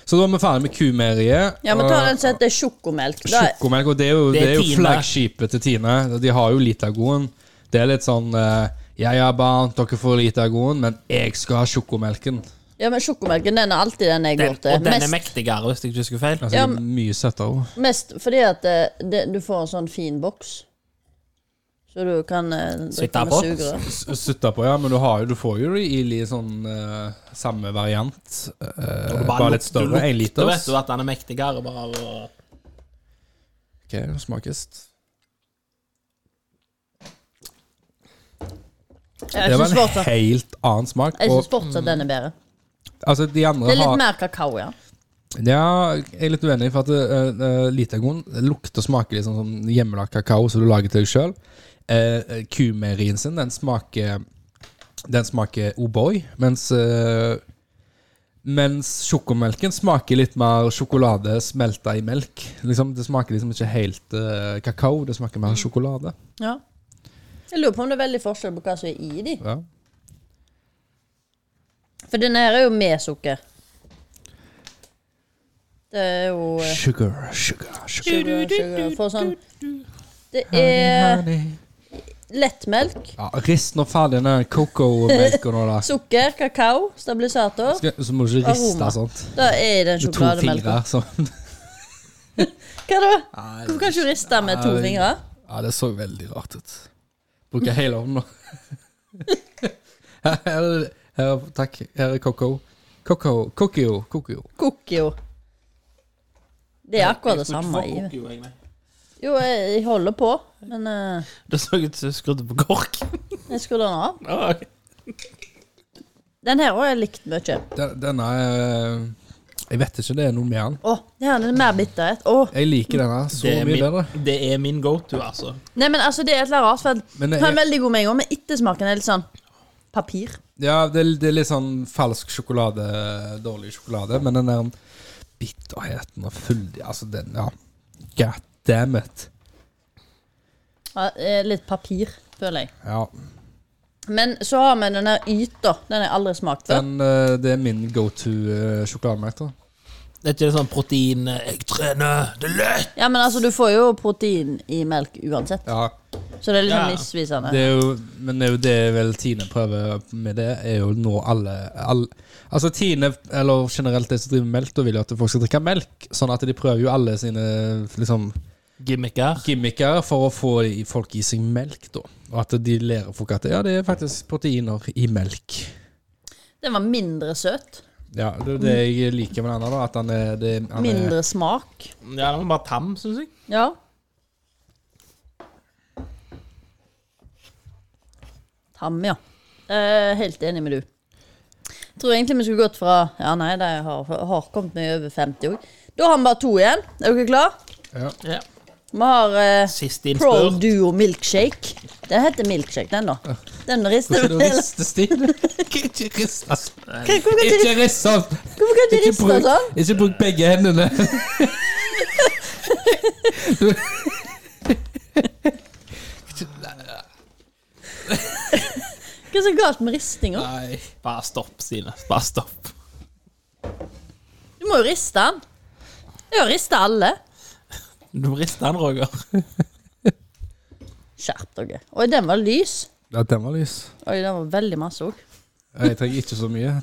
S1: Så da er vi ferdig med kumeieriet.
S3: Ja, men ta
S1: og
S3: den som heter sjokomelk. Da,
S1: Sjokomelk, og det er jo, det
S2: Det er
S1: er jo
S2: Tine.
S1: flaggskipet til Tine. De har jo Litagoen. Det er litt sånn eh, Ja ja, barn, dere får Litagoen, men jeg skal ha sjokomelken.
S3: ja, men sjokomelken, den er alltid den jeg
S2: Den,
S3: går
S2: og
S3: til.
S2: den er
S3: Mest,
S2: mektigere, hvis jeg ikke husker feil.
S1: Altså,
S3: Ja,
S1: det er Mye søtere. også.
S3: mest fordi at eh, det, du får en sånn fin boks. Så du kan eh, drikke
S2: Sitte
S3: med
S2: på.
S3: sugerør.
S1: S- Sutta på, ja, men du, har jo, du får jo det i li- sånn eh, samme variant. eh,
S2: Og du
S1: bare litt
S2: luk- du
S1: større.
S2: lukter,
S1: Én liters.
S2: vet du at den er mektigere, bare av å
S1: Ok, det smakes
S3: Ja,
S1: Det
S3: jeg
S1: var
S3: syns
S1: en
S3: fortsatt,
S1: helt annen smak.
S3: jeg
S1: Og,
S3: synes fortsatt den er bedre.
S1: altså, de andre
S3: Det er
S1: har
S3: litt mer kakao, ja.
S1: Ja, jeg er litt uenig, for at uh, Litagon lukter og smaker litt sånn som hjemmelagd kakao som du lager til deg sjøl. Uh, Kumeierien sin, den smaker Den smaker O'boy, mens eh, Mens sjokomelken smaker litt mer sjokolade smelta i melk. Liksom, det smaker liksom ikke helt eh, kakao, det smaker
S3: Mm.
S1: mer sjokolade.
S3: Ja. Jeg lurer på om det er veldig forskjell på hva som er i de.
S1: Ja.
S3: For denne her er jo med sukker. Det er jo eh,
S1: Sugar, sugar, sugar.
S3: sugar, sugar. For sånn Det er lettmelk,
S1: Ja, Rist nå ferdig den cocoa-melka nå, da.
S3: sukker, kakao, stabilisator.
S1: Skal- Så må du ikke riste
S3: Aroma.
S1: sånt.
S3: Da er i den
S1: Med to
S3: sjokolademelka.
S1: fingre. Sånn.
S3: Hva da? Hvorfor kan ikke du riste med to
S1: Nei.
S3: fingre?
S1: Ja, det så veldig rart ut. Bruker hele hånden nå. Her er det her, er- Takk. Her er Coco. Coco, Cocio, Cocio.
S3: Kokio. Det er akkurat det samme. i. Jo, jeg jeg holder på, men eh,
S2: Det så ut som jeg skrudde på kork.
S3: Jeg skrur den av.
S2: Ja, ok.
S3: Den her har jeg likt mye.
S1: Den- Denne eh, Jeg vet ikke, det er noe med den.
S3: Å, det her er mer bitterhet. Å.
S1: Jeg liker denne så
S2: Det er
S1: mye bedre.
S2: min, det er min go-to, altså.
S3: Nei, men altså, det er et eller annet rart, for
S1: Men eh, det
S3: den er
S1: er-
S3: veldig god med en gang, men ettersmaken er litt sånn papir.
S1: Ja, det, er- det er litt sånn falsk sjokolade, dårlig sjokolade, men den der bitterheten og full Altså, den, ja. God damn it.
S3: Ja, eh, litt papir, føler jeg.
S1: Ja.
S3: Men så har vi den her yta. Den har jeg aldri smakt før.
S1: Den, eh, det er min go to uh, sjokolademelk, da.
S2: Det er ikke sånn protein eh, 'Jeg trener, det er lett'.
S3: Ja, men altså, du får jo protein i melk uansett,
S1: Ja,
S3: så det er liksom
S2: Ja.
S3: misvisende.
S1: det er jo, men det er jo det vel Tine prøver med det, er jo nå alle, all- Altså Tine, eller generelt de som driver med melk, da vil jo at folk skal drikke melk. Sånn at de prøver jo alle sine liksom,
S2: Gimmicker.
S1: gimmicker for å få i- folk i seg melk, da. Og at de lærer folk at ja, det er faktisk proteiner i melk.
S3: Den var mindre søt.
S1: Ja, det er jo det jeg liker med denne, da. At han er, det, han er
S3: Mindre smak.
S2: Ja, den var bare tam, syns jeg.
S3: Ja. Tam, ja. Eh, helt enig med du. Jeg tror egentlig vi skulle gått fra Ja, nei, de har, har kommet meg over 50 òg. Da har vi bare to igjen. Er dere klare?
S1: ja.
S2: Ja.
S3: Vi har eh,
S2: Sist
S3: Pro
S2: innspurt.
S3: Duo Milkshake. Den heter Milkshake, den, da. Den rister
S1: Hvorfor
S3: du
S1: du
S3: til.
S1: rister, Stine? Ikke rist, altså.
S3: Hvorfor kan ikke
S1: Ikke rist sånn!
S3: hvorfor kan ikke
S1: Ikke
S3: riste
S1: bruk,
S3: sånn?
S1: ikke bruk begge hendene. Du-
S3: Hva er så galt med ristinga?
S2: Nei. Bare stopp, Stine. Bare stopp.
S3: Du må jo riste den. Jeg har rista alle.
S2: Du rister den, Roger.
S3: Skjerp dere. Oi, den var lys.
S1: Ja, den var lys.
S3: Oi, den var veldig masse òg.
S1: Jeg trenger ikke så mye.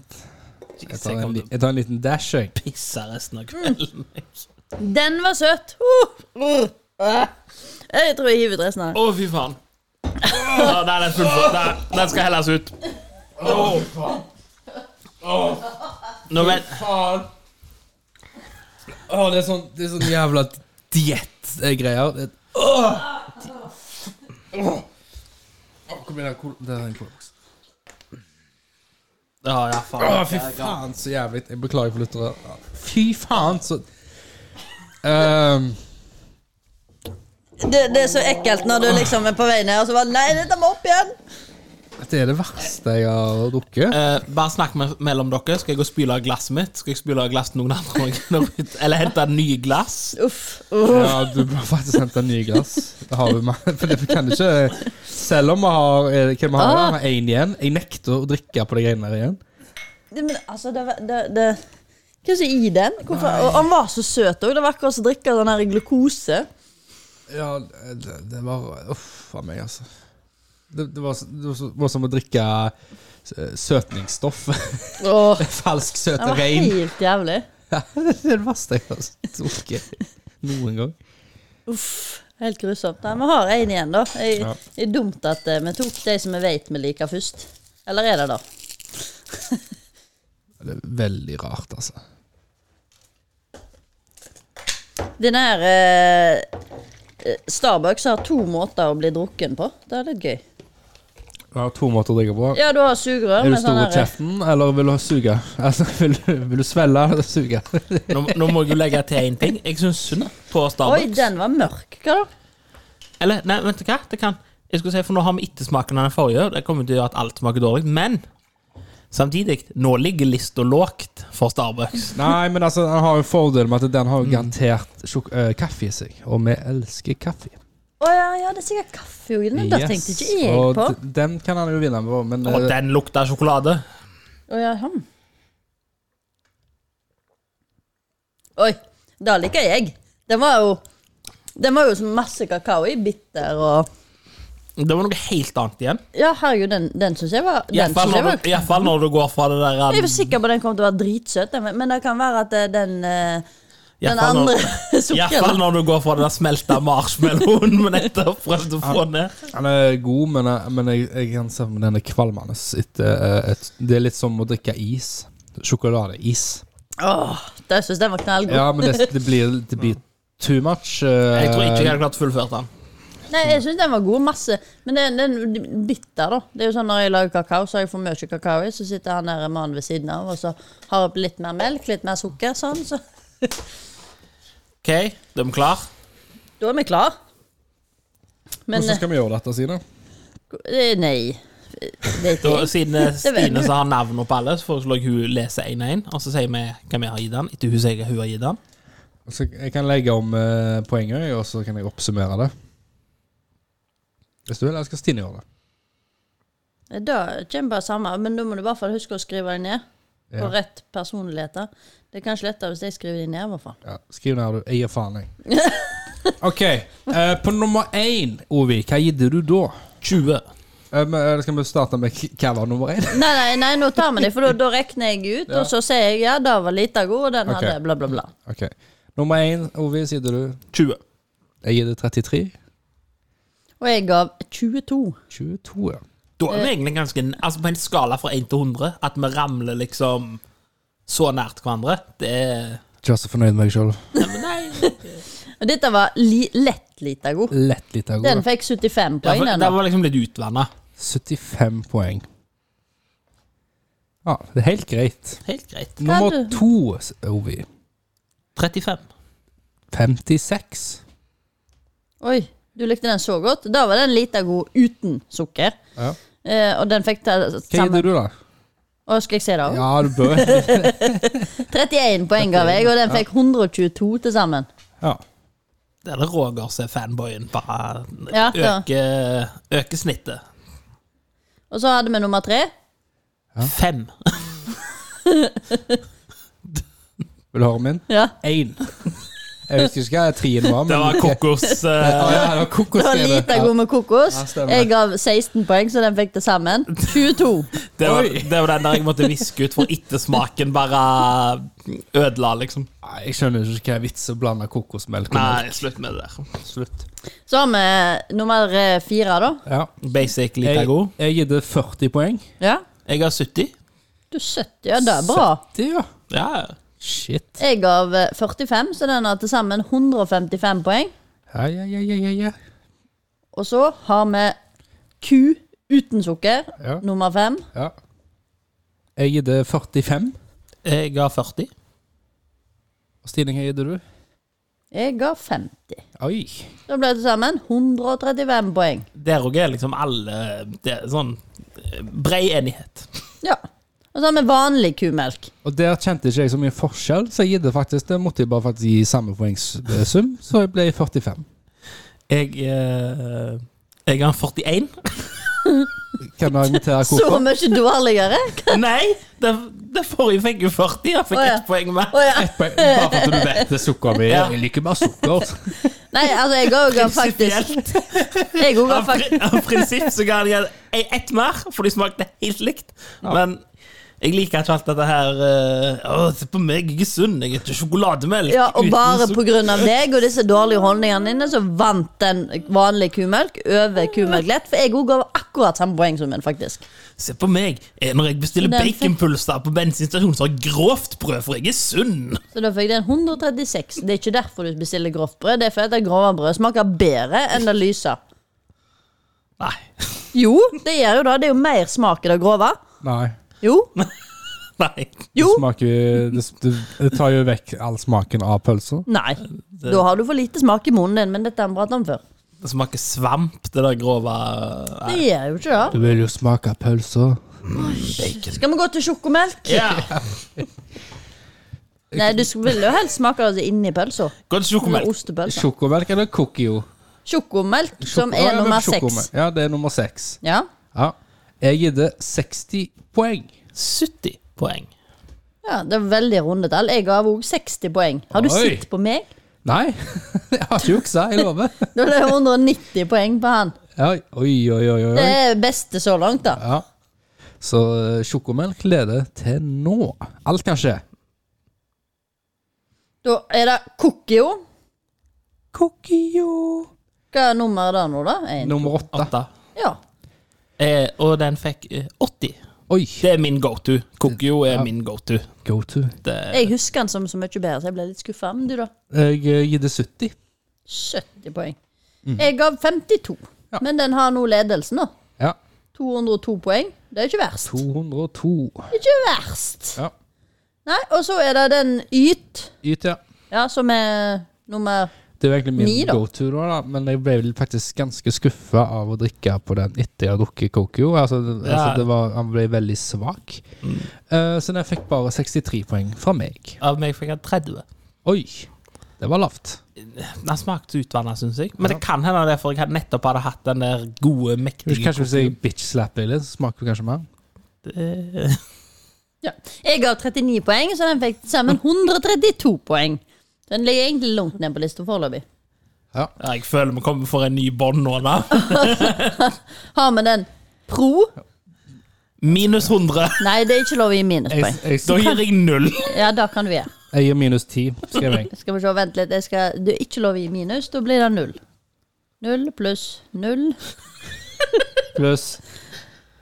S1: Jeg tar en, li- jeg tar en liten dash, jeg.
S2: pisse resten av kvelden.
S3: Den var søt. Uh, uh, uh. Jeg tror jeg hiver ut resten av
S2: Å,
S3: den.
S2: fy faen. Å, nei, den, er full for- nei, den skal helles ut. Å, faen. Nå vet
S1: Faen. Å, det er sånn, det er sånn jævla diett-greier. Det- Åh! Åh. Åh, Kom igjen, cool. det er en coolbox.
S2: Ja, ja,
S1: Å,
S2: faen.
S1: fy faen, så jævlig. Jeg beklager for lyttere. Fy faen, så Ehm,
S3: Det, det er så ekkelt når du liksom er på vei ned, og så bare Nei, dette må opp igjen.
S1: Dette er det verste jeg har drukket.
S2: Eh, bare snakk me- mellom dere. Skal jeg gå og spyle av glasset mitt? Skal jeg spyle av glass til noen andre? også? Når ut- Eller hente nye glass?
S3: Uff. Uh.
S1: Ja, du må faktisk hente nye glass. Det har vi med. For det kan du ikke Selv om vi har eh, Hvem vi har vi? Én igjen. Jeg nekter å drikke på de greiene der igjen.
S3: Det, men altså, det, var- det, det Hva er det som er i den? Hvorfor? Og han var så søt òg. Det var akkurat som å drikke sånn her glukose.
S1: Ja, det, det var Uff a meg, altså. Det, det, var, så- det var så- var som å drikke eh, søtningsstoff.
S3: Åh,
S1: Falsk
S3: den var
S1: søterein.
S3: helt jævlig.
S1: Ja, det er det verste jeg har drukket noen gang.
S3: Uff. Helt grusomt. Nei, Vi har én igjen, da. Jeg,
S1: Ja.
S3: Det er dumt at eh, vi tok de som vi vet vi liker, først. Eller er det det?
S1: Det er veldig rart, altså.
S3: Den her eh, eh, Starbucks har to måter å bli drukken på. Det er litt gøy.
S1: Jeg har to måter å drikke på.
S3: Ja, du har sugerør
S1: Er du
S3: med sånn
S1: stor i
S3: her
S1: kjeften, eller vil du ha suge? Altså, vil, du- vil du svelge eller suge?
S2: Nå, nå må jeg jo legge til én ting. Jeg syns synd på
S3: Oi,
S2: Starbucks.
S3: den var mørk. Hva da?
S2: Eller, nei, vent hva? Det kan Jeg skulle si, for nå har vi ettersmaken av den forrige. Det kommer til å gjøre at alt smaker dårlig. Men samtidig, nå ligger lista lågt for Starbucks.
S1: Nei, men altså, den har jo fordel med at den har jo garantert sjok eh, kaffe i seg. Og vi elsker kaffe.
S3: Å ja, ja, det er sikkert kaffe i den. Det
S1: Yes.
S3: tenkte ikke jeg
S1: og
S3: på.
S1: d- Den kan han jo vinne med, men
S2: Og
S1: eh,
S2: den lukter sjokolade.
S3: Å ja, hm. Oi, da liker jeg. Den var jo Den var jo som masse kakao i. Bitter og
S2: Det var noe helt annet igjen.
S3: Ja, herregud, den, den syns jeg var den
S2: Iallfall
S3: synes jeg
S2: når,
S3: var
S2: du- i hvert fall når du går fra det der um,
S3: Jeg var sikker på at den kom til å være dritsøt, den, men det kan være at eh, den, eh,
S2: i hvert
S3: den
S2: fall
S3: andre
S2: når- i hvert fall
S3: sukkeren
S2: når du går fra det der smelta marshmallowen vi nettopp prøvde å få ned.
S1: han er god, men, eh, men jeg, jeg kan se om den er kvalmende. Etter, eh, et, det er litt som å drikke is. Sjokoladeis.
S3: Åh, jeg syns den var knallgod.
S1: Ja, men det, det, blir, det blir too much. eh,
S2: Jeg tror ikke jeg hadde klart fullført den.
S3: Nei, jeg syns den var god. Masse. Men den, den bitter, da. Det er jo sånn Når jeg lager kakao, så har jeg for mye kakao i, så sitter han der mannen ved siden av, og så har jeg litt mer melk, litt mer sukker, sånn. Så
S2: OK, de er klar?
S3: da er vi klar. Men
S4: Hvordan skal vi gjøre dette, Sine?
S3: eh, Nei. Vet
S2: Da,
S3: jeg.
S2: siden eh, Stine så har navnet på alle, så foreslår jeg hun leser én og én, og så sier vi hva vi har gitt den, etter hun sier hva hun har gitt den.
S1: Så jeg kan legge om eh, poenget, jeg, og så kan jeg oppsummere det. Hvis du vil, eller skal Stine gjøre det?
S3: Da kommer bare samme, men da må du i hvert fall huske å skrive det ned.
S1: Ja.
S3: På rett personligheter. Det er kanskje lettere hvis jeg skriver det ned, i hvert fall.
S1: Ja, skriv ned, du. Jeg gir faen, jeg. OK. eh, på nummer én, Ovi, hva gidde du da?
S2: 20.
S1: Eh, men, eh, skal vi starte med k- hva var nummer én?
S3: Nei, nei, nei, nå tar vi det, for da, da regner jeg ut, og så sier jeg ja, da var lita god, og den
S1: Ok.
S3: hadde bla, bla, bla.
S1: Ok. Nummer én, Ovi, sier du.
S2: 20.
S1: Jeg gir det 33.
S3: Og jeg gav 22.
S1: 22, ja.
S2: Da er vi egentlig ganske Altså På en skala fra 1 til 100, at vi ramler liksom så nært hverandre, det er
S1: Ikke vær så fornøyd med deg sjøl.
S2: Nei, men nei.
S3: Og dette var li, lett lita god.
S1: Lett litt av
S3: Den
S1: gårde.
S3: fikk 75
S2: Det
S3: poeng,
S2: var,
S3: den.
S2: det
S3: da.
S2: var liksom litt utvanna.
S1: 75 poeng. Ja, det er helt greit.
S2: Helt greit.
S1: Nummer
S3: du-
S1: to, s- oh, Ovi.
S2: 35.
S1: 56.
S3: Oi, du likte den så godt. Da var den lita god uten sukker.
S1: Ja.
S3: Eh, og den fikk ta
S1: Hva
S3: sammen.
S1: gidder du, da?
S3: Og skal jeg se det òg?
S1: Ja, du bør egentlig
S3: 31 poeng ga jeg, og den fikk 122 til sammen.
S1: ja.
S2: Det er det Roger som er fanboyen. Bare
S3: Ja, da.
S2: øke, øke snittet.
S3: Og så hadde vi nummer tre.
S2: Fem.
S1: Vil du høre min?
S3: Ja.
S1: Én. Jeg husker ikke hva trien var, men
S2: Det var kokos. eh,
S1: Ja, ja, det var kokos.
S3: Det var
S1: det er det.
S3: lita god med kokos.
S1: Ja, stemmer.
S3: Jeg gav 16 poeng, så den fikk til sammen 22.
S2: det, var,
S1: Oi.
S2: det var den der jeg måtte viske ut, for ettersmaken bare ødela, liksom.
S1: Nei, Jeg skjønner ikke hva er vitsen å blande kokosmelk og melk.
S2: Nei, slutt med det der. Slutt.
S3: Så har vi nummer eh, fire, da.
S1: Ja.
S2: Basic lite
S1: Jeg,
S2: god.
S1: jeg gir det 40 poeng.
S3: Ja.
S2: Jeg har 70.
S3: Du er 70, ja det er bra.
S1: Det, ja.
S2: Ja,
S1: Shit.
S3: Jeg gav eh, 45, så den har til sammen 155 poeng.
S1: Ja, ja, ja, ja, ja, ja.
S3: Og så har vi ku uten sukker,
S1: Ja.
S3: nummer fem.
S1: ja. Jeg gir det 45.
S2: jeg har 40.
S1: Og Stine, hva gir du?
S3: Jeg ga 50.
S1: Oi.
S3: Da ble det til sammen 135 poeng.
S2: Der òg er liksom alle Det er sånn eh, brei enighet.
S3: Ja. Og så har vi vanlig kumelk.
S1: Og der kjente ikke jeg så mye forskjell, så jeg gir det faktisk. Det måtte jeg bare faktisk gi samme poengsum, så jeg ble 45.
S2: Jeg eh, Jeg har 41.
S1: Kan du argumentere
S3: Så
S1: hvorfor?
S3: mye dårligere!
S2: Nei! Det, det forrige fikk jo 40. Jeg fikk
S3: Å, ja.
S2: ett poeng mer.
S3: Å ja.
S1: Bare for at du vet det er sukker vi
S2: Ja.
S1: Jeg liker bare sukker.
S3: Nei, altså, jeg òg ga faktisk Jeg òg ga
S2: Av,
S3: faktisk
S2: pri- av prinsipp så ga jeg en- ett mer, for de smakte helt likt. Men jeg liker ikke alt dette her eh, Å, se på meg, jeg er sunn. Jeg heter sjokolademelk.
S3: ja, Og
S2: uten
S3: bare
S2: sukker.»
S3: pga. deg og disse dårlige holdningene dine, så vant den vanlig kumelk over kumelk lett. For jeg òg ga akkurat samme poengsummen, faktisk.
S2: Se på meg. eh, Når jeg bestiller
S3: Den fikk-
S2: baconpulser på bensinstasjonen, så har jeg grovt brød, for jeg er sunn.
S3: Så da fikk den 136. Det er ikke derfor du bestiller grovt brød. Det er fordi det grove brødet smaker bedre enn det lyse.
S2: Nei.
S3: Jo, det gjør jo det. Det er jo mer smak i det grove.
S1: Nei.
S3: Jo.
S2: Nei.
S3: Jo.
S1: Det, smaker, jo- det, det, det tar jo vekk all smaken av pølser.
S3: Nei. Da har du for lite smak i munnen din, men dette har vi pratet om før.
S2: Det smaker svamp, det der grove eh,
S3: Det gjør jo ikke det.
S1: Du vil jo smake pølser.
S3: Skal vi gå til sjokomelk?
S2: Ja.
S3: Nei, du sk- vil jo helst smake det inni pølsa.
S2: Gå til
S3: Eller
S2: sjokomelk.
S3: ostepølsa.
S1: Sjokomelk eller cookie?
S3: Sjokomelk, som er nummer seks.
S1: Ja, det er nummer seks.
S3: Ja.
S1: Ja. Jeg gir det 60 poeng.
S2: 70 poeng.
S3: ja, det er veldig runde tall. Jeg gav òg 60 poeng. Har du
S1: Oi.
S3: sett på meg?
S1: Nei, jeg har ikke juksa, jeg lover.
S3: Da er det 190 poeng på han.
S1: Ja, oi, oi, oi, oi.
S3: Det
S1: oi.
S3: er beste så langt, da.
S1: Ja. Så eh, sjokomelk leder til nå. Alt kan skje.
S3: Da er det Kokkio.
S1: Kokio.
S3: Hva er nummeret der nå, da? En.
S1: Nummer åtte.
S2: Åtte.
S3: Ja.
S2: Eh, og den fikk eh, 80.
S1: Oi.
S2: Det er min go-to. Kokio er min go-to.
S1: Go to.
S2: Det-
S3: Jeg husker den som så mye bedre, så jeg ble litt skuffa. Men du, da?
S1: Jeg eh, gir det 70.
S3: 70 poeng. Jeg gav 52,
S1: Ja.
S3: men den har nå ledelsen, da.
S1: Ja.
S3: 202 poeng. Det er ikke verst.
S1: 202.
S3: Ikke verst.
S1: Ja.
S3: Nei, og så er det den Yt,
S1: Yt, ja.
S3: ja, som er nummer
S1: Det er jo egentlig min
S3: Ni, da.
S1: go-to, da, da, men jeg ble vel faktisk ganske skuffa av å drikke på den etter jeg har drukket Kokio. Altså, det-
S2: Ja.
S1: altså, det var, han ble veldig svak. Eh, så den fikk bare 63 poeng fra meg.
S2: Av meg fikk jeg 30.
S1: Oi! Det var lavt.
S2: Den smakte utvanna, syns jeg. Men det kan hende det, er for jeg hadde nettopp hadde hatt den der gode, mektige
S1: Kanskje hvis jeg bitch-slapper deg litt, så smaker det kanskje mer.
S2: Det-
S3: ja. Jeg gav 39 poeng, så den fikk til sammen 132 poeng. Den ligger egentlig langt ned på lista foreløpig.
S2: Ja, Jeg føler vi kommer for en ny bånd nå, da.
S3: Har vi den pro?
S2: Minus 100.
S3: Nei, det er ikke lov å gi
S1: Jeg,
S3: minuspoeng.
S1: jeg,
S2: Da gir jeg null.
S3: Ja, det kan vi gjøre.
S1: jeg gir minus 10, skrev jeg.
S3: Skal vi se, vent litt. Jeg skal, du er ikke lov å gi minus, da blir det null. Null pluss null
S1: Pluss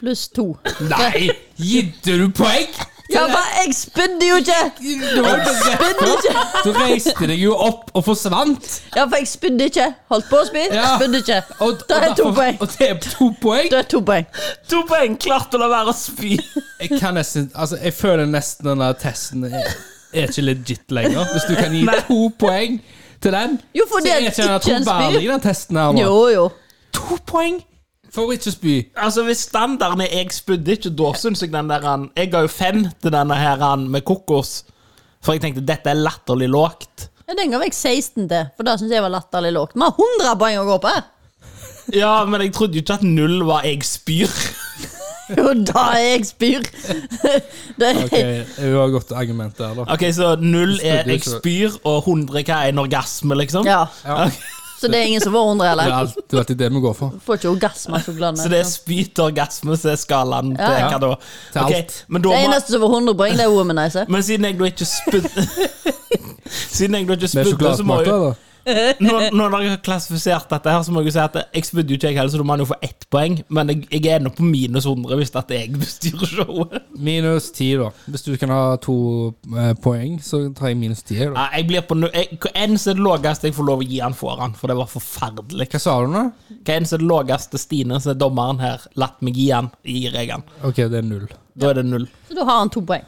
S3: pluss to.
S2: Nei! Gitte du poeng?
S3: Ja, hva? Jeg spydde jo ikke! Spydde ikke!
S1: Du reiste deg jo opp og forsvant!
S3: Ja, for jeg spydde ikke. Holdt på å spy,
S1: Ja.
S3: spydde ikke.
S1: Og,
S3: Da er to poeng.
S1: det er to poeng!
S3: Da er to poeng.
S2: To poeng klarte å la være å spy.
S1: Jeg kan nesten Altså, jeg føler nesten den der testen er, er ikke legit lenger. Hvis du kan gi to poeng til den,
S3: Jo, for
S1: så
S3: det
S1: er
S3: er
S1: ikke den
S3: ikke en
S1: troverdig,
S3: spy.
S1: den testen her.
S3: Jo,
S1: nå.
S3: jo.
S2: To poeng?
S1: For ikke å spy.
S2: Altså, Hvis standarden er 'jeg spydde ikke', da syns jeg den der han Jeg ga jo fem til denne her han med kokos. For jeg tenkte dette er latterlig lågt.
S3: Ja, den ga jeg 16 til, for det syns jeg var latterlig lågt. Vi har 100 poeng å gå på! her.
S2: Ja, men jeg trodde jo ikke at null var 'jeg spyr'.
S3: Jo, da er jeg spyr. Det er,
S1: Ok, hun har godt argument der, da.
S2: Ok, Så null er
S1: Spydde jo
S2: 'jeg
S1: ikke.
S2: spyr', og 100 hva er en orgasme, liksom?
S3: Ja,
S1: Ja.
S3: Så det er ingen som får 100,
S1: Det er
S3: eller?
S1: alt- det er alltid det vi går for.
S3: Får ikke orgasme av sjokoladen.
S2: Så det er spyt og orgasme som er skalaen til
S3: Ja.
S2: hva da?
S1: Til
S2: Ok,
S1: alt.
S2: men, da
S3: Det
S2: må,
S3: eneste som får 100 poeng, det er womanizer.
S2: men siden jeg da ikke spydde Siden jeg da ikke
S1: Med
S2: spydde, så må
S1: sjokoladesmak,
S2: jo
S1: da.
S2: Når, når dere har klassifisert dette, her, så må jeg jo si at jeg spydde jo ikke jeg heller, så da må han jo få ett poeng. Men jeg, jeg er ennå på minus 100 hvis at jeg bestyrer showet.
S1: Minus ti, da. Hvis du kan ha to eh, poeng, så tar jeg minus ti. da.
S2: Nei, jeg blir på nu- jeg, Hva enn som er det laveste jeg får lov å gi han, får han, for det var forferdelig.
S1: Hva sa du nå?
S2: Hva enn som er det laveste Stine, som er dommeren her, latt meg gi han, gir jeg han.
S1: Ok, det er null.
S2: Da er det null.
S3: Så da har han to poeng.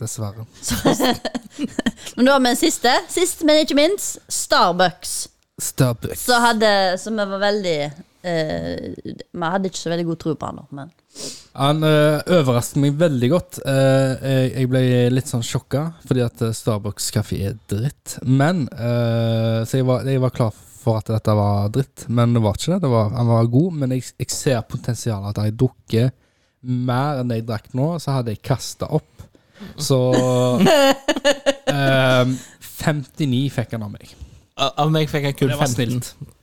S1: Dessverre.
S3: Men da har vi en siste. Sist, men ikke minst, Starbucks.
S1: Starbucks.
S3: Så hadde, som jeg var veldig eh, Vi hadde ikke så veldig god tro på han, da, men
S1: Han uh, overrasket meg veldig godt. Eh, jeg, jeg ble litt sånn sjokka, fordi at eh, Starbucks kaffe er dritt. Men eh, Så jeg var, jeg var klar for at dette var dritt, men det var ikke det. det var, han var god, men jeg, jeg ser potensialet. At hadde jeg drukket mer enn jeg drakk nå, så hadde jeg kasta opp. Så eh, 59 fikk han av meg.
S2: Av av meg fikk jeg kun
S1: Det var
S2: 15.
S1: snilt.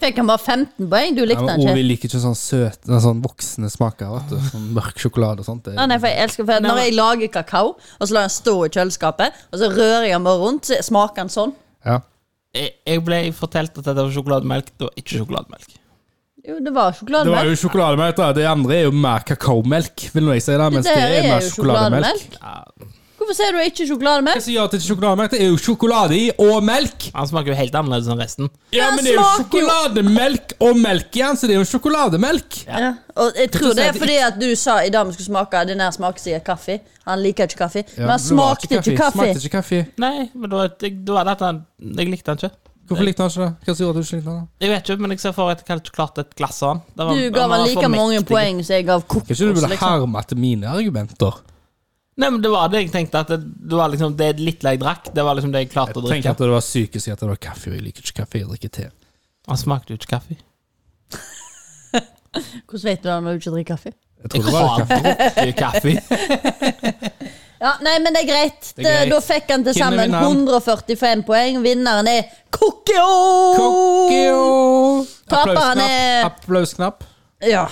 S3: Fikk han bare 15 poeng? Du likte
S1: Ja,
S3: han
S1: men Ovi
S3: ikke?
S1: liker ikke sånn søte, sånn voksne smaker. Vet du. Sånn mørk sjokolade og sånt. Det,
S3: Ja, nei, for jeg elsker for Når jeg lager kakao, og så lar jeg den stå i kjøleskapet, og så rører jeg den bare rundt, så smaker den sånn.
S1: ja.
S2: Jeg, jeg ble fortalt at dette var sjokolademelk. Det var ikke sjokolademelk.
S3: Jo, det var
S1: Det var
S3: sjokolademelk.
S1: jo sjokolademelk. da. Det andre er jo mer kakaomelk, vil nå jeg si. Det, mens det
S3: Dette
S1: er, mer sjokolademelk.
S2: Ja,
S3: Hvorfor sier du ikke
S1: Hva
S3: sjokolademelk?
S1: sier at det er sjokolademelk? Det er jo sjokolade i og melk!
S2: han smaker jo helt annerledes enn resten.
S1: Ja,
S3: Den
S1: men det er jo
S3: smaker jo-
S1: sjokolademelk og melk igjen, så det er jo sjokolademelk.
S3: Ja. Og jeg tror
S1: du
S3: det
S1: sier
S3: er
S1: at det
S3: fordi at du sa i dag vi skulle smake Den her smaker sikkert kaffe. Han liker ikke kaffe. Men
S1: Ja,
S3: han
S1: det var
S3: smakte ikke kaffe.
S1: Smakte ikke kaffe.
S2: Nei, men da, jeg, da var det at han, jeg likte han ikke.
S1: Hvorfor likte han ikke det? Hva som gjorde at du ikke likte han? da?
S2: Jeg vet ikke, men jeg ser for at jeg hadde ikke klart et glass av han. Det var-
S3: Du ga
S2: var
S3: han
S2: for
S3: like mange
S2: mektig.
S3: poeng som jeg gav kokos.
S1: Kanskje du ville
S3: Liksom.
S1: herme etter mine argumenter?
S2: Nei, men det var det jeg tenkte. At det, det var liksom det lille jeg drakk, det var liksom det jeg klarte å
S1: Jeg
S2: drikke.
S1: tenker at det var psykisk at det var kaffe, og jeg liker ikke kaffe, jeg drikker te.
S2: Han smakte jo ikke kaffe.
S3: Hvordan vet du det når du ikke drikker kaffe?
S1: Jeg
S2: Jeg
S1: tror det var
S2: har
S1: kaffe.
S2: drukket kaffe.
S3: Ja, nei, men det er greit.
S1: Det er greit.
S3: Da fikk han til
S1: Hvem er
S3: sammen
S1: vinneren?
S3: 145 poeng. Vinneren er Kokkio!
S1: Kokkio!
S3: Taperen er-
S1: Applausknapp. Applausknapp.
S3: Ja.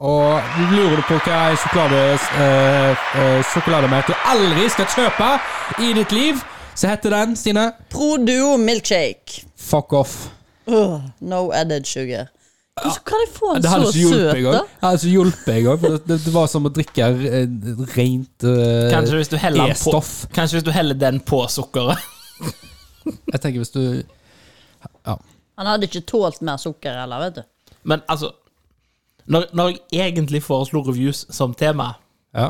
S1: Og lurer du på hva en sjokolade, eh, eh, sjokolademelk du aldri skal kjøpe i ditt liv, så heter den, Stine,
S3: Pro Duo milkshake.
S1: Fuck Off.
S3: Ugh, no added sugar. Hvordan kan jeg få en
S1: Det hadde
S3: så
S1: ikke hjulpet
S3: søt, da?
S1: engang. Det hadde ikke hjulpet engang, for det, det, det var som å drikke eh, rent eh,
S2: Kanskje hvis du heller den på,
S1: E-stoff.
S2: kanskje hvis du heller den på sukkeret.
S1: Jeg tenker hvis du
S3: Han hadde ikke tålt mer sukker heller, vet du.
S2: Men altså når, når jeg egentlig foreslo reviews som tema,
S1: Ja.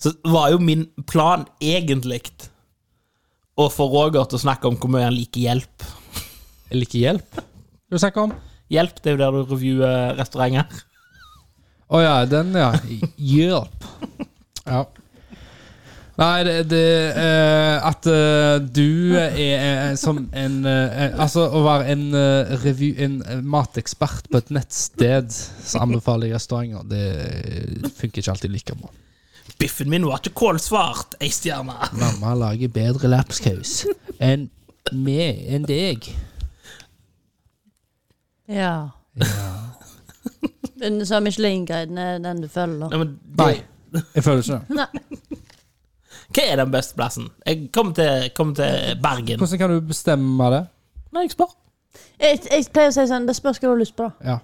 S2: så var jo min plan egentlig å få Roger til å snakke om hvor mye han liker hjelp.
S1: Jeg liker hjelp. Skal du snakke om?
S2: Hjelp, det er jo der du reviewer restauranter.
S1: Å ja, den, ja. Hjelp. Ja. Nei, det, det eh, At eh, du er eh, som en eh, Altså, å være en, eh, review, en eh, matekspert på et nettsted som anbefaler restauranter, det funker ikke alltid like bra.
S2: Biffen min var ikke kålsvart, ei stjerne.
S1: Mamma lager bedre lapskaus enn meg, enn deg.
S3: Ja. Den sa Michelin-guiden er den du følger.
S2: Nei, men det,
S1: Nei, jeg føler ikke det.
S3: Nei.
S2: Hva er den beste plassen? Jeg kommer til, kommer til Bergen.
S1: Hvordan kan du bestemme det?
S2: Nei, jeg spør.
S3: Jeg, jeg pleier å si sånn, det spørs hva du har lyst på, da.
S1: Ja.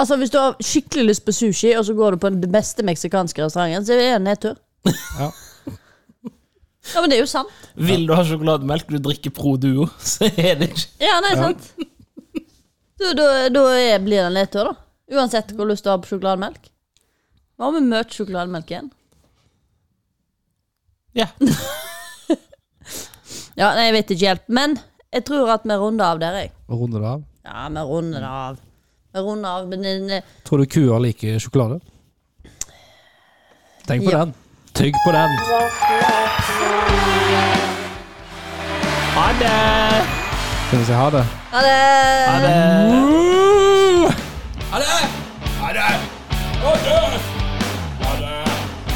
S3: Altså, Hvis du har skikkelig lyst på sushi, og så går du på den beste meksikanske restauranten, så er det en nedtur.
S1: Ja.
S3: Ja, men det er jo sant.
S2: Vil du ha sjokolademelk, du drikker Pro Duo, så er det ikke
S3: Ja, nei, sant. Så Da da er- blir det en nedtur, da. Uansett hvor lyst du har på sjokolademelk. Hva med mye sjokolademelk igjen?
S2: Ja.
S3: Ja, nei, jeg vet ikke hjelp, men jeg tror at vi runder av der, jeg.
S1: Runde det av.
S3: Ja, vi runder av. Vi runder av, men eh, den-
S1: Tror du kuer liker sjokolade? Tenk på
S3: Ja.
S1: den. Tygg på den.
S2: Ha det!
S1: Skal vi si ha det?
S3: Ha det!
S2: Ha det! Uh!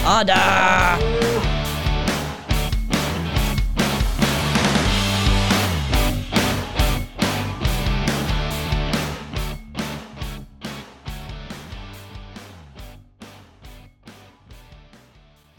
S3: Ha det!